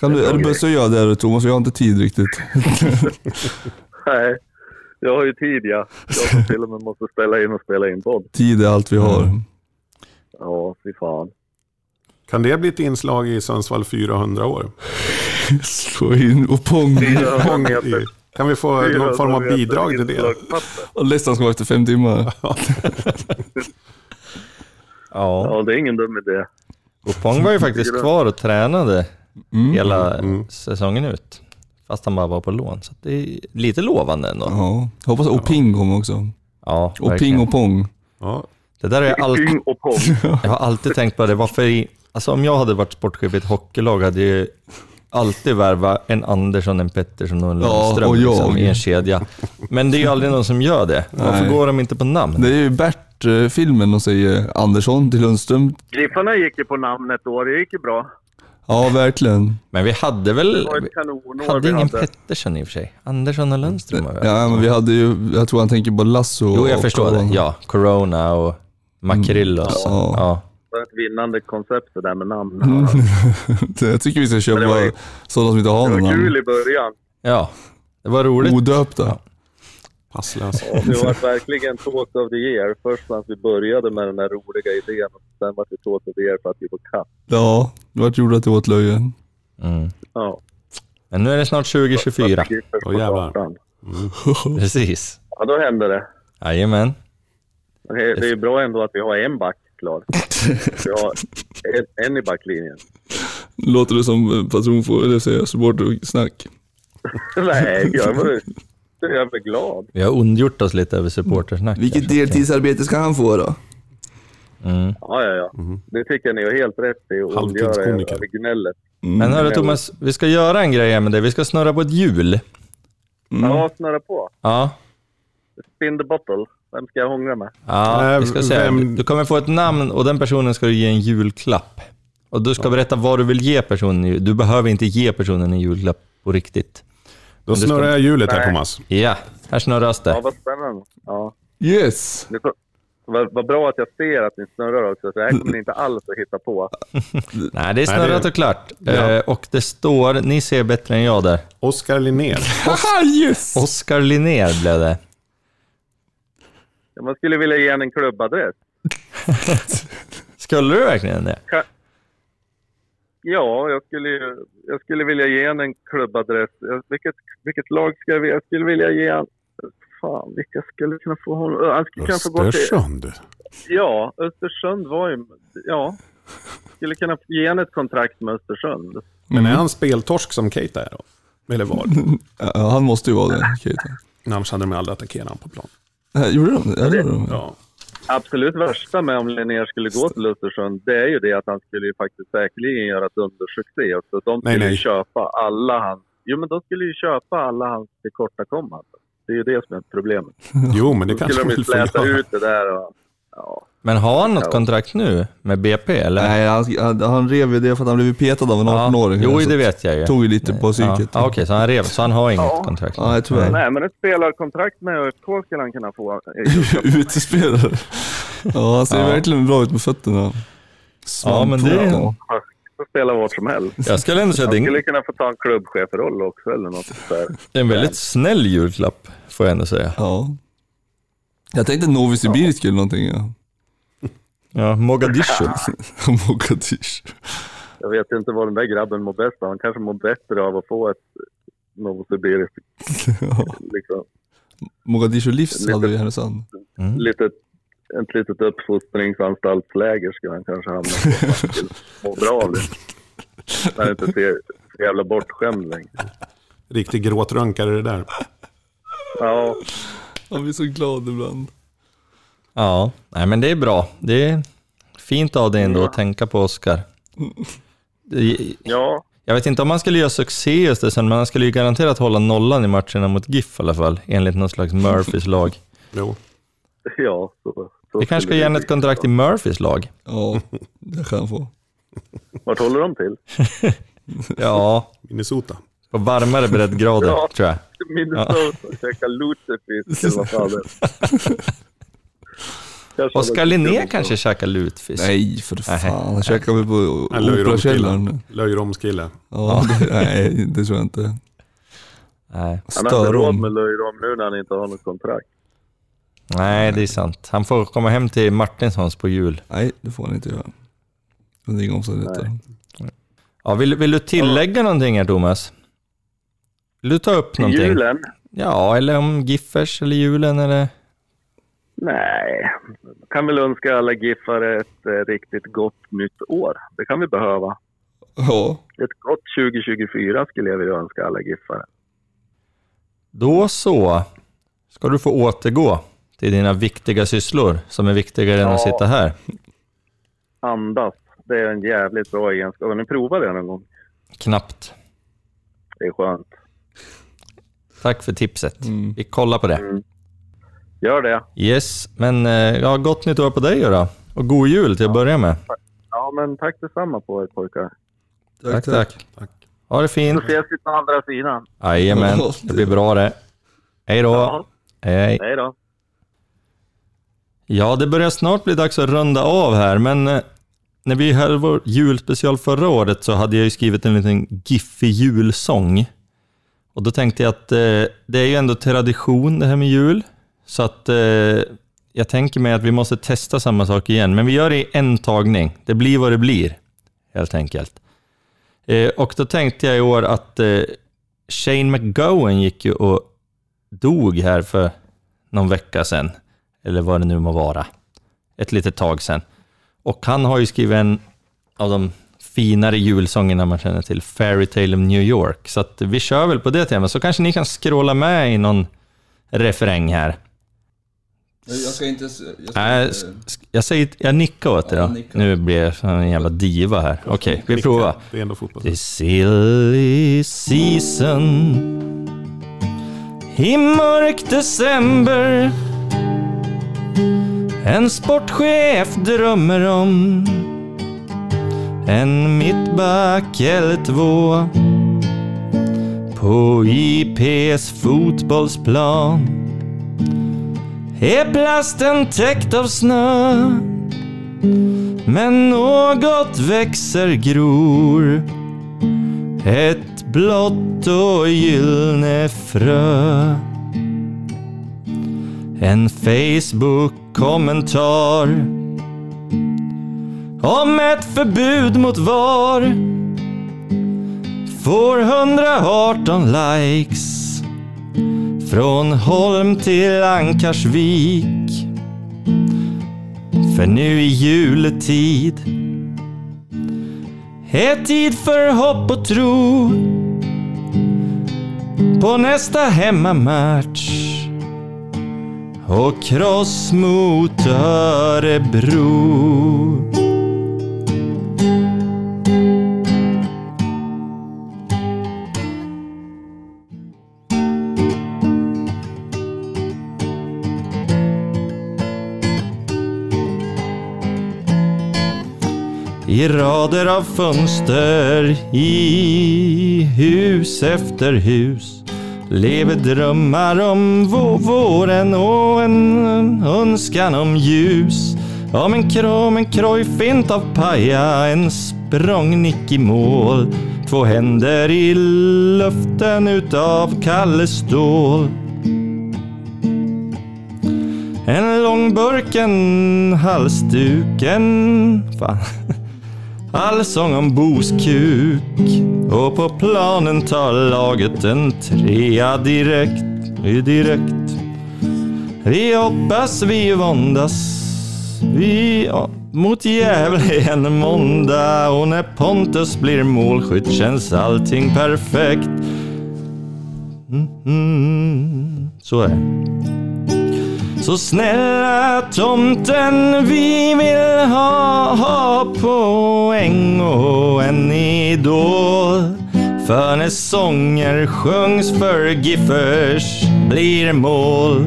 B: Kan du,
F: Det är
B: eller
F: bra
B: börjar jag det här, Thomas, jag har inte tid riktigt.
F: Nej. Jag har ju tid, ja. Jag som till och med måste ställa in och spela in podd.
B: Tid är allt vi
A: Mm.
B: har.
F: Ja, fy fan.
C: Kan det bli ett inslag i Sundsvall 400 år?
B: Slå in och pong.
C: Pong i- Kan vi få någon form av
F: alltså
C: bidrag till det?
F: Inslagspapper.
B: Och listan ska vara efter fem timmar.
A: Ja.
F: Ja, det är ingen dum idé.
A: Opong var ju
B: Mm.
A: faktiskt kvar och tränade hela
C: Mm.
A: säsongen ut. Fast han bara var på lån, så att det är lite lovande ändå.
B: Ja. Hoppas Oping kommer också.
A: Ja,
B: Oping
A: verkligen.
B: och pong.
C: Ja,
A: Det där har jag, alltid,
F: Tyng och pong.
A: jag har alltid tänkt på det. Varför i, alltså om jag hade varit sportchef i ett hockeylag hade jag ju alltid värva en Andersson, en Pettersson och en
B: Ja,
A: Lundström
B: och jag.
A: liksom, i en kedja. Men det är ju aldrig någon som gör det. Varför
B: Nej.
A: går de inte på namn?
B: Det är ju Bert-filmen och säger Andersson till Lundström.
F: Griffarna gick ju på namnet då. Det gick ju bra.
B: Ja, verkligen.
A: Men vi hade
F: Det
A: väl...
F: var ett
A: Vi
F: kanonår
A: hade
F: vi
A: ingen
F: hade.
A: Pettersson i och för sig. Andersson och Lundström var vi.
B: Ja, men vi hade ju, jag tror han tänker på Lasso
A: Jo, jag
B: och
A: förstår det.
B: Corona.
A: Ja, Corona och Makrill och så.
B: Ja.
A: Ja.
F: Det var ett vinnande koncept det där med namn.
B: Jag tycker vi ska
F: Men det var
B: köpa
F: ju-
B: sådana som inte har
F: Det
B: någon
F: var kul
B: namn.
F: i början.
A: ja, det var roligt.
B: Odöpta.
C: passlös.
F: Ja, vi var verkligen talk of the year. Först när vi började med den här roliga idén. Och sen var vi talk of the year för att vi var katt.
B: Ja, det vart gjorde att det var ett löje.
A: Mm.
F: Ja.
A: Men nu är det snart 2024.
F: Att vi gick först på
C: Åh, jävlar.
F: gatan.
A: Precis.
F: Ja, då hände det.
A: Jajamän.
F: Okej, Det är ju bra ändå att vi har en back klar. Vi har en, en i backlinjen.
B: Låter det som patronfår, eller säger jag, supportersnack?
F: Nej, jag var så jävla glad.
A: Vi har ondgjort oss lite över supportersnack.
B: Vilket
A: kanske.
B: deltidsarbete ska han få då?
A: Mm.
F: Ja, ja, ja.
C: Mhm.
F: Det tycker jag ni har helt rätt i att ondgöra
C: Halvtidskomiker.
F: er över gnället.
A: Men hörru Thomas, vi ska göra en grej här med dig. Vi ska snurra på ett hjul.
C: Mm.
F: Ja, snurra på.
A: Ja.
F: Spin the bottle. Vem ska jag hångla med?
A: Ja,
C: Äh,
A: vi ska se.
C: vem-
A: Du kommer få ett namn och den personen ska du ge en julklapp. Och du ska berätta vad du vill ge personen. i- Du behöver inte ge personen en julklapp på riktigt.
C: Då
A: ska-
C: snurrar jag hjulet här
F: Nej.
C: Thomas.
A: Ja, här snurras
F: Ja,
A: det.
F: vad spännande. Ja.
B: Yes!
F: Det är så- Vad, vad bra att jag ser att ni snurrar också. Det här kommer ni inte alls att hitta på.
A: Nej, det är
C: Nej,
A: snurrat
C: det-
A: och klart.
C: Ja.
A: Eh, Och det står, ni ser bättre än jag där.
C: Oskar Linnér.
B: Haha, yes!
A: Oskar Linnér blev det.
F: Ja, Man skulle vilja ge en en klubbadress.
A: Skulle du verkligen det?
F: Ja, jag skulle, ju- jag skulle vilja ge en en klubbadress. Jag- Vilket, vilket lag ska jag vilja... Jag skulle vilja ge en... Fan, vilka skulle kunna få honom... Han skulle kunna få gå till...
C: Östersund.
F: Ja, Östersund var ju... Ja. Skulle kunna ge en ett kontrakt med Östersund.
C: Men är han speltorsk som Keita är då? Eller var?
F: Mm.
B: Ja, han måste ju vara det. Keita.
C: Annars hade de aldrig attackerat honom på plan.
F: Mm.
B: Äh, Gjorde de det? Ja, det gjorde de.
C: Ja.
F: Absolut värsta med om Linnér skulle gå till Östersund, det är ju det att han skulle ju faktiskt säkerligen göra ett dundersuccé också. De
C: Nej,
F: skulle ju
C: nej.
F: köpa alla hans... Jo, men de skulle ju köpa alla hans tillkortakommanden. Det är ju det som är problemet.
C: Jo, men det
F: Då skulle
C: kanske
F: de ju
C: väl får
F: släta
C: göra.
F: ut det där och... Ja.
A: Men har han något kontrakt nu med BP eller?
B: Nej, han, han, han rev ju det för att han blev petad av en
A: Ja.
B: 18-åring.
A: Jo,
B: Så
A: det vet jag ju.
B: Tog ju lite på
A: Ja.
B: psyket.
A: Ja, Okej, så han rev, så han har inget
F: Ja.
A: kontrakt?
B: Nej, tyvärr.
F: Nej, men ett spelarkontrakt med ÖFK skulle han kunna få.
B: Utespelare. Ja, han ser
A: Ja.
B: verkligen bra ut med fötterna.
A: Ja, men det...
F: Han spela vart som helst.
A: Jag skulle ändå säga
F: Han
A: att det är
F: skulle
A: en-
F: kunna få ta en klubbchefroll också eller något sånt där.
A: en väldigt snäll julklapp, får jag ändå säga.
B: Ja. Jag tänkte Novi Sibirisk eller någonting. Ja.
A: Ja, Mogadishu.
B: Mogadishu.
F: Jag vet inte vad den där grabben mår bäst av. Han kanske mår bättre av att få ett Novosibiriskt
B: Ja.
F: liksom,
B: Mogadishu Livs hade vi i Härnösand.
F: litet, ett litet uppfostringsanstaltsläger skulle han kanske hamna på. Han skulle må bra av det. När han inte ser så jävla bortskämd längre.
C: Riktig gråtrönkare det där.
F: Ja,
B: Han blir så glad ibland.
A: Ja, nej men det är bra. Det är fint av dig ändå att tänka på Oscar. Det-
F: ja,
A: Jag vet inte om han skulle göra succé i Östersund, men han skulle ju garanterat hålla nollan i matcherna mot GIF i alla fall, enligt någon slags Murphys lag.
C: Jo.
F: ja. Så, så
A: Vi kanske ska ge honom ett kontrakt i Murphys lag?
B: Ja, det kan han få.
F: Vart håller de till?
A: Ja,
C: Minnesota.
A: på varmare breddgrader
F: Ja.
A: tror jag.
F: Minnesota och käka lutefisk eller vad fan det är. Kanske
A: Oskar
F: han-
A: Linné kanske käkar lutfisk?
B: Nej, för fan. Han käkar väl på
C: Han löjromskille.
B: Operakällaren. nu.
C: Löjromskille.
B: Ja, det, nej, det tror jag inte.
A: Nej.
F: Han har inte råd med
B: Störom.
F: löjrom nu när han inte har något kontrakt.
A: Nej, det är sant. Han får komma hem till Martinssons på jul.
B: Nej, det får han inte göra. Under inga omständigheter.
A: Ja, vill, vill du tillägga någonting här Thomas? Vill du ta upp någonting?
F: Julen?
A: Ja, eller om Giffers eller julen eller...
F: Nej, kan väl önska alla giffare ett eh, riktigt gott nytt år. Det kan vi behöva.
B: Ja.
F: Ett gott 2024 skulle jag vilja önska alla giffare.
A: Då så, ska du få återgå till dina viktiga sysslor som är viktigare än att
F: Ja.
A: sitta här.
F: Andas, det är en jävligt bra egenskap. Har ni provat det någon gång?
A: Knappt.
F: Det är skönt.
A: Tack för tipset.
B: mm.
A: Vi kollar på det.
F: Gör det.
A: Yes, men eh, ja, gott nytt år på dig då, då. Och god jul till att börja med.
F: Ja, men tack detsamma på er pojkar.
A: Tack, tack. Ha det fint.
F: Då ses vi på andra sidan.
A: Jajamän, det blir bra det. Hej då.
F: Ja.
A: Hej.
F: Hej då.
A: Ja, det börjar snart bli dags att runda av här, men eh, när vi hade vår julspecial förra året så hade jag ju skrivit en liten giffig julsång. Och då tänkte jag att eh, det är ju ändå tradition det här med jul, så att eh, jag tänker mig att vi måste testa samma sak igen. Men vi gör det i en tagning. Det blir vad det blir, helt enkelt. Eh, och då tänkte jag i år att eh, Shane McGowan gick ju och dog här för någon vecka sedan, eller vad det nu må vara, ett litet tag sedan. Och han har ju skrivit en av de finare julsångerna man känner till, Fairy Tale of New York. Så att vi kör väl på det temat, så kanske ni kan skråla med i någon refräng här.
B: Nej, Jag ska inte... Jag ska
A: Nej,
B: inte-
A: sk- jag, säger, jag nickar åt det
B: Ja,
A: då.
B: nicka.
A: Nu blir jag som en jävla diva här. Okej, vi
C: Nicka.
A: provar.
C: Det är ändå fotboll.
A: This silly season I mörk december En sportchef drömmer om En mittback eller två På IPs fotbollsplan Är plasten täckt av snö men något växer gror Ett blått och gyllene frö En Facebook-kommentar Om ett förbud mot VAR Får 118 likes Från Holm till Ankarsvik för nu i juletid är tid för hopp och tro på nästa hemmamatch och kross mot Örebro. I rader av fönster i hus efter hus lever drömmar om vå- våren och en önskan om ljus. Om en kram, en krojfint av paja, en språngnick i mål. Två händer i luften utav Kalle Ståhl. En lång burk, en halsduk, en... Fan. Allsång om Bos kuk. Och på planen tar laget en trea direkt. direkt. Vi hoppas, vi våndas. Vi ja, mot Gävle en måndag. Och när Pontus blir målskytt känns allting perfekt. Mm, mm, så är det. Så snälla tomten, vi vill ha, ha poäng och en idol. För när sånger sjungs för Giffers blir mål.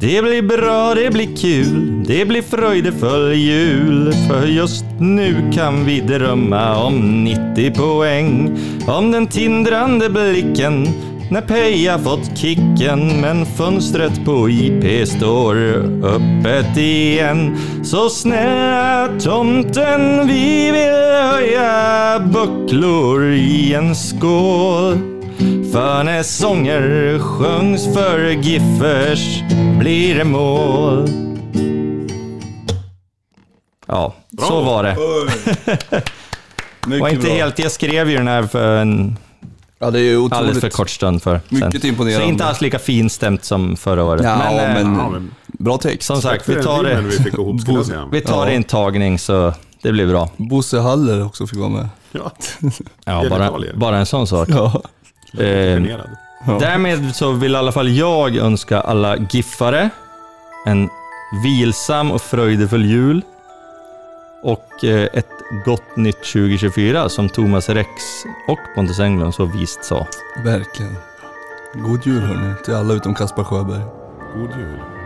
A: Det blir bra, det blir kul, det blir fröjdefull jul. För just nu kan vi drömma om 90 poäng. Om den tindrande blicken när Peja fått kicken. Men fönstret på IP står öppet igen. Så snälla tomten, vi vill höja bucklor i en skål. För när sånger sjungs för Giffers blir det mål. Ja, så var det. Det var
B: Mycket
A: inte
B: bra.
A: helt, jag skrev ju den här för en
B: Ja, det är ju otroligt.
A: alldeles för kort stund för
B: Mycket imponerande.
A: Så inte alls lika finstämt som förra året.
B: Ja,
A: eh,
B: men,
C: ja, men-
B: bra text.
A: som sagt,
C: Tack
A: vi
C: för
A: tar
C: den
A: det,
C: rimmen vi fick ihop skulle jag säga.
A: vi tar
B: Ja.
A: det i en tagning så det blir bra.
B: Bosse Haller också fick vara med.
C: Ja,
A: Ja, bara,
C: Genitalier.
A: bara en sån sak.
B: Ja.
A: Eh,
C: generad.
A: Därmed så vill i alla fall jag önska alla giffare en vilsam och fröjdefull jul och eh, ett gott nytt 2024 som Thomas Rex och Pontus Englund så vist sa.
B: Verkligen. God jul hörni, till alla utom Kaspar Sjöberg.
C: God jul.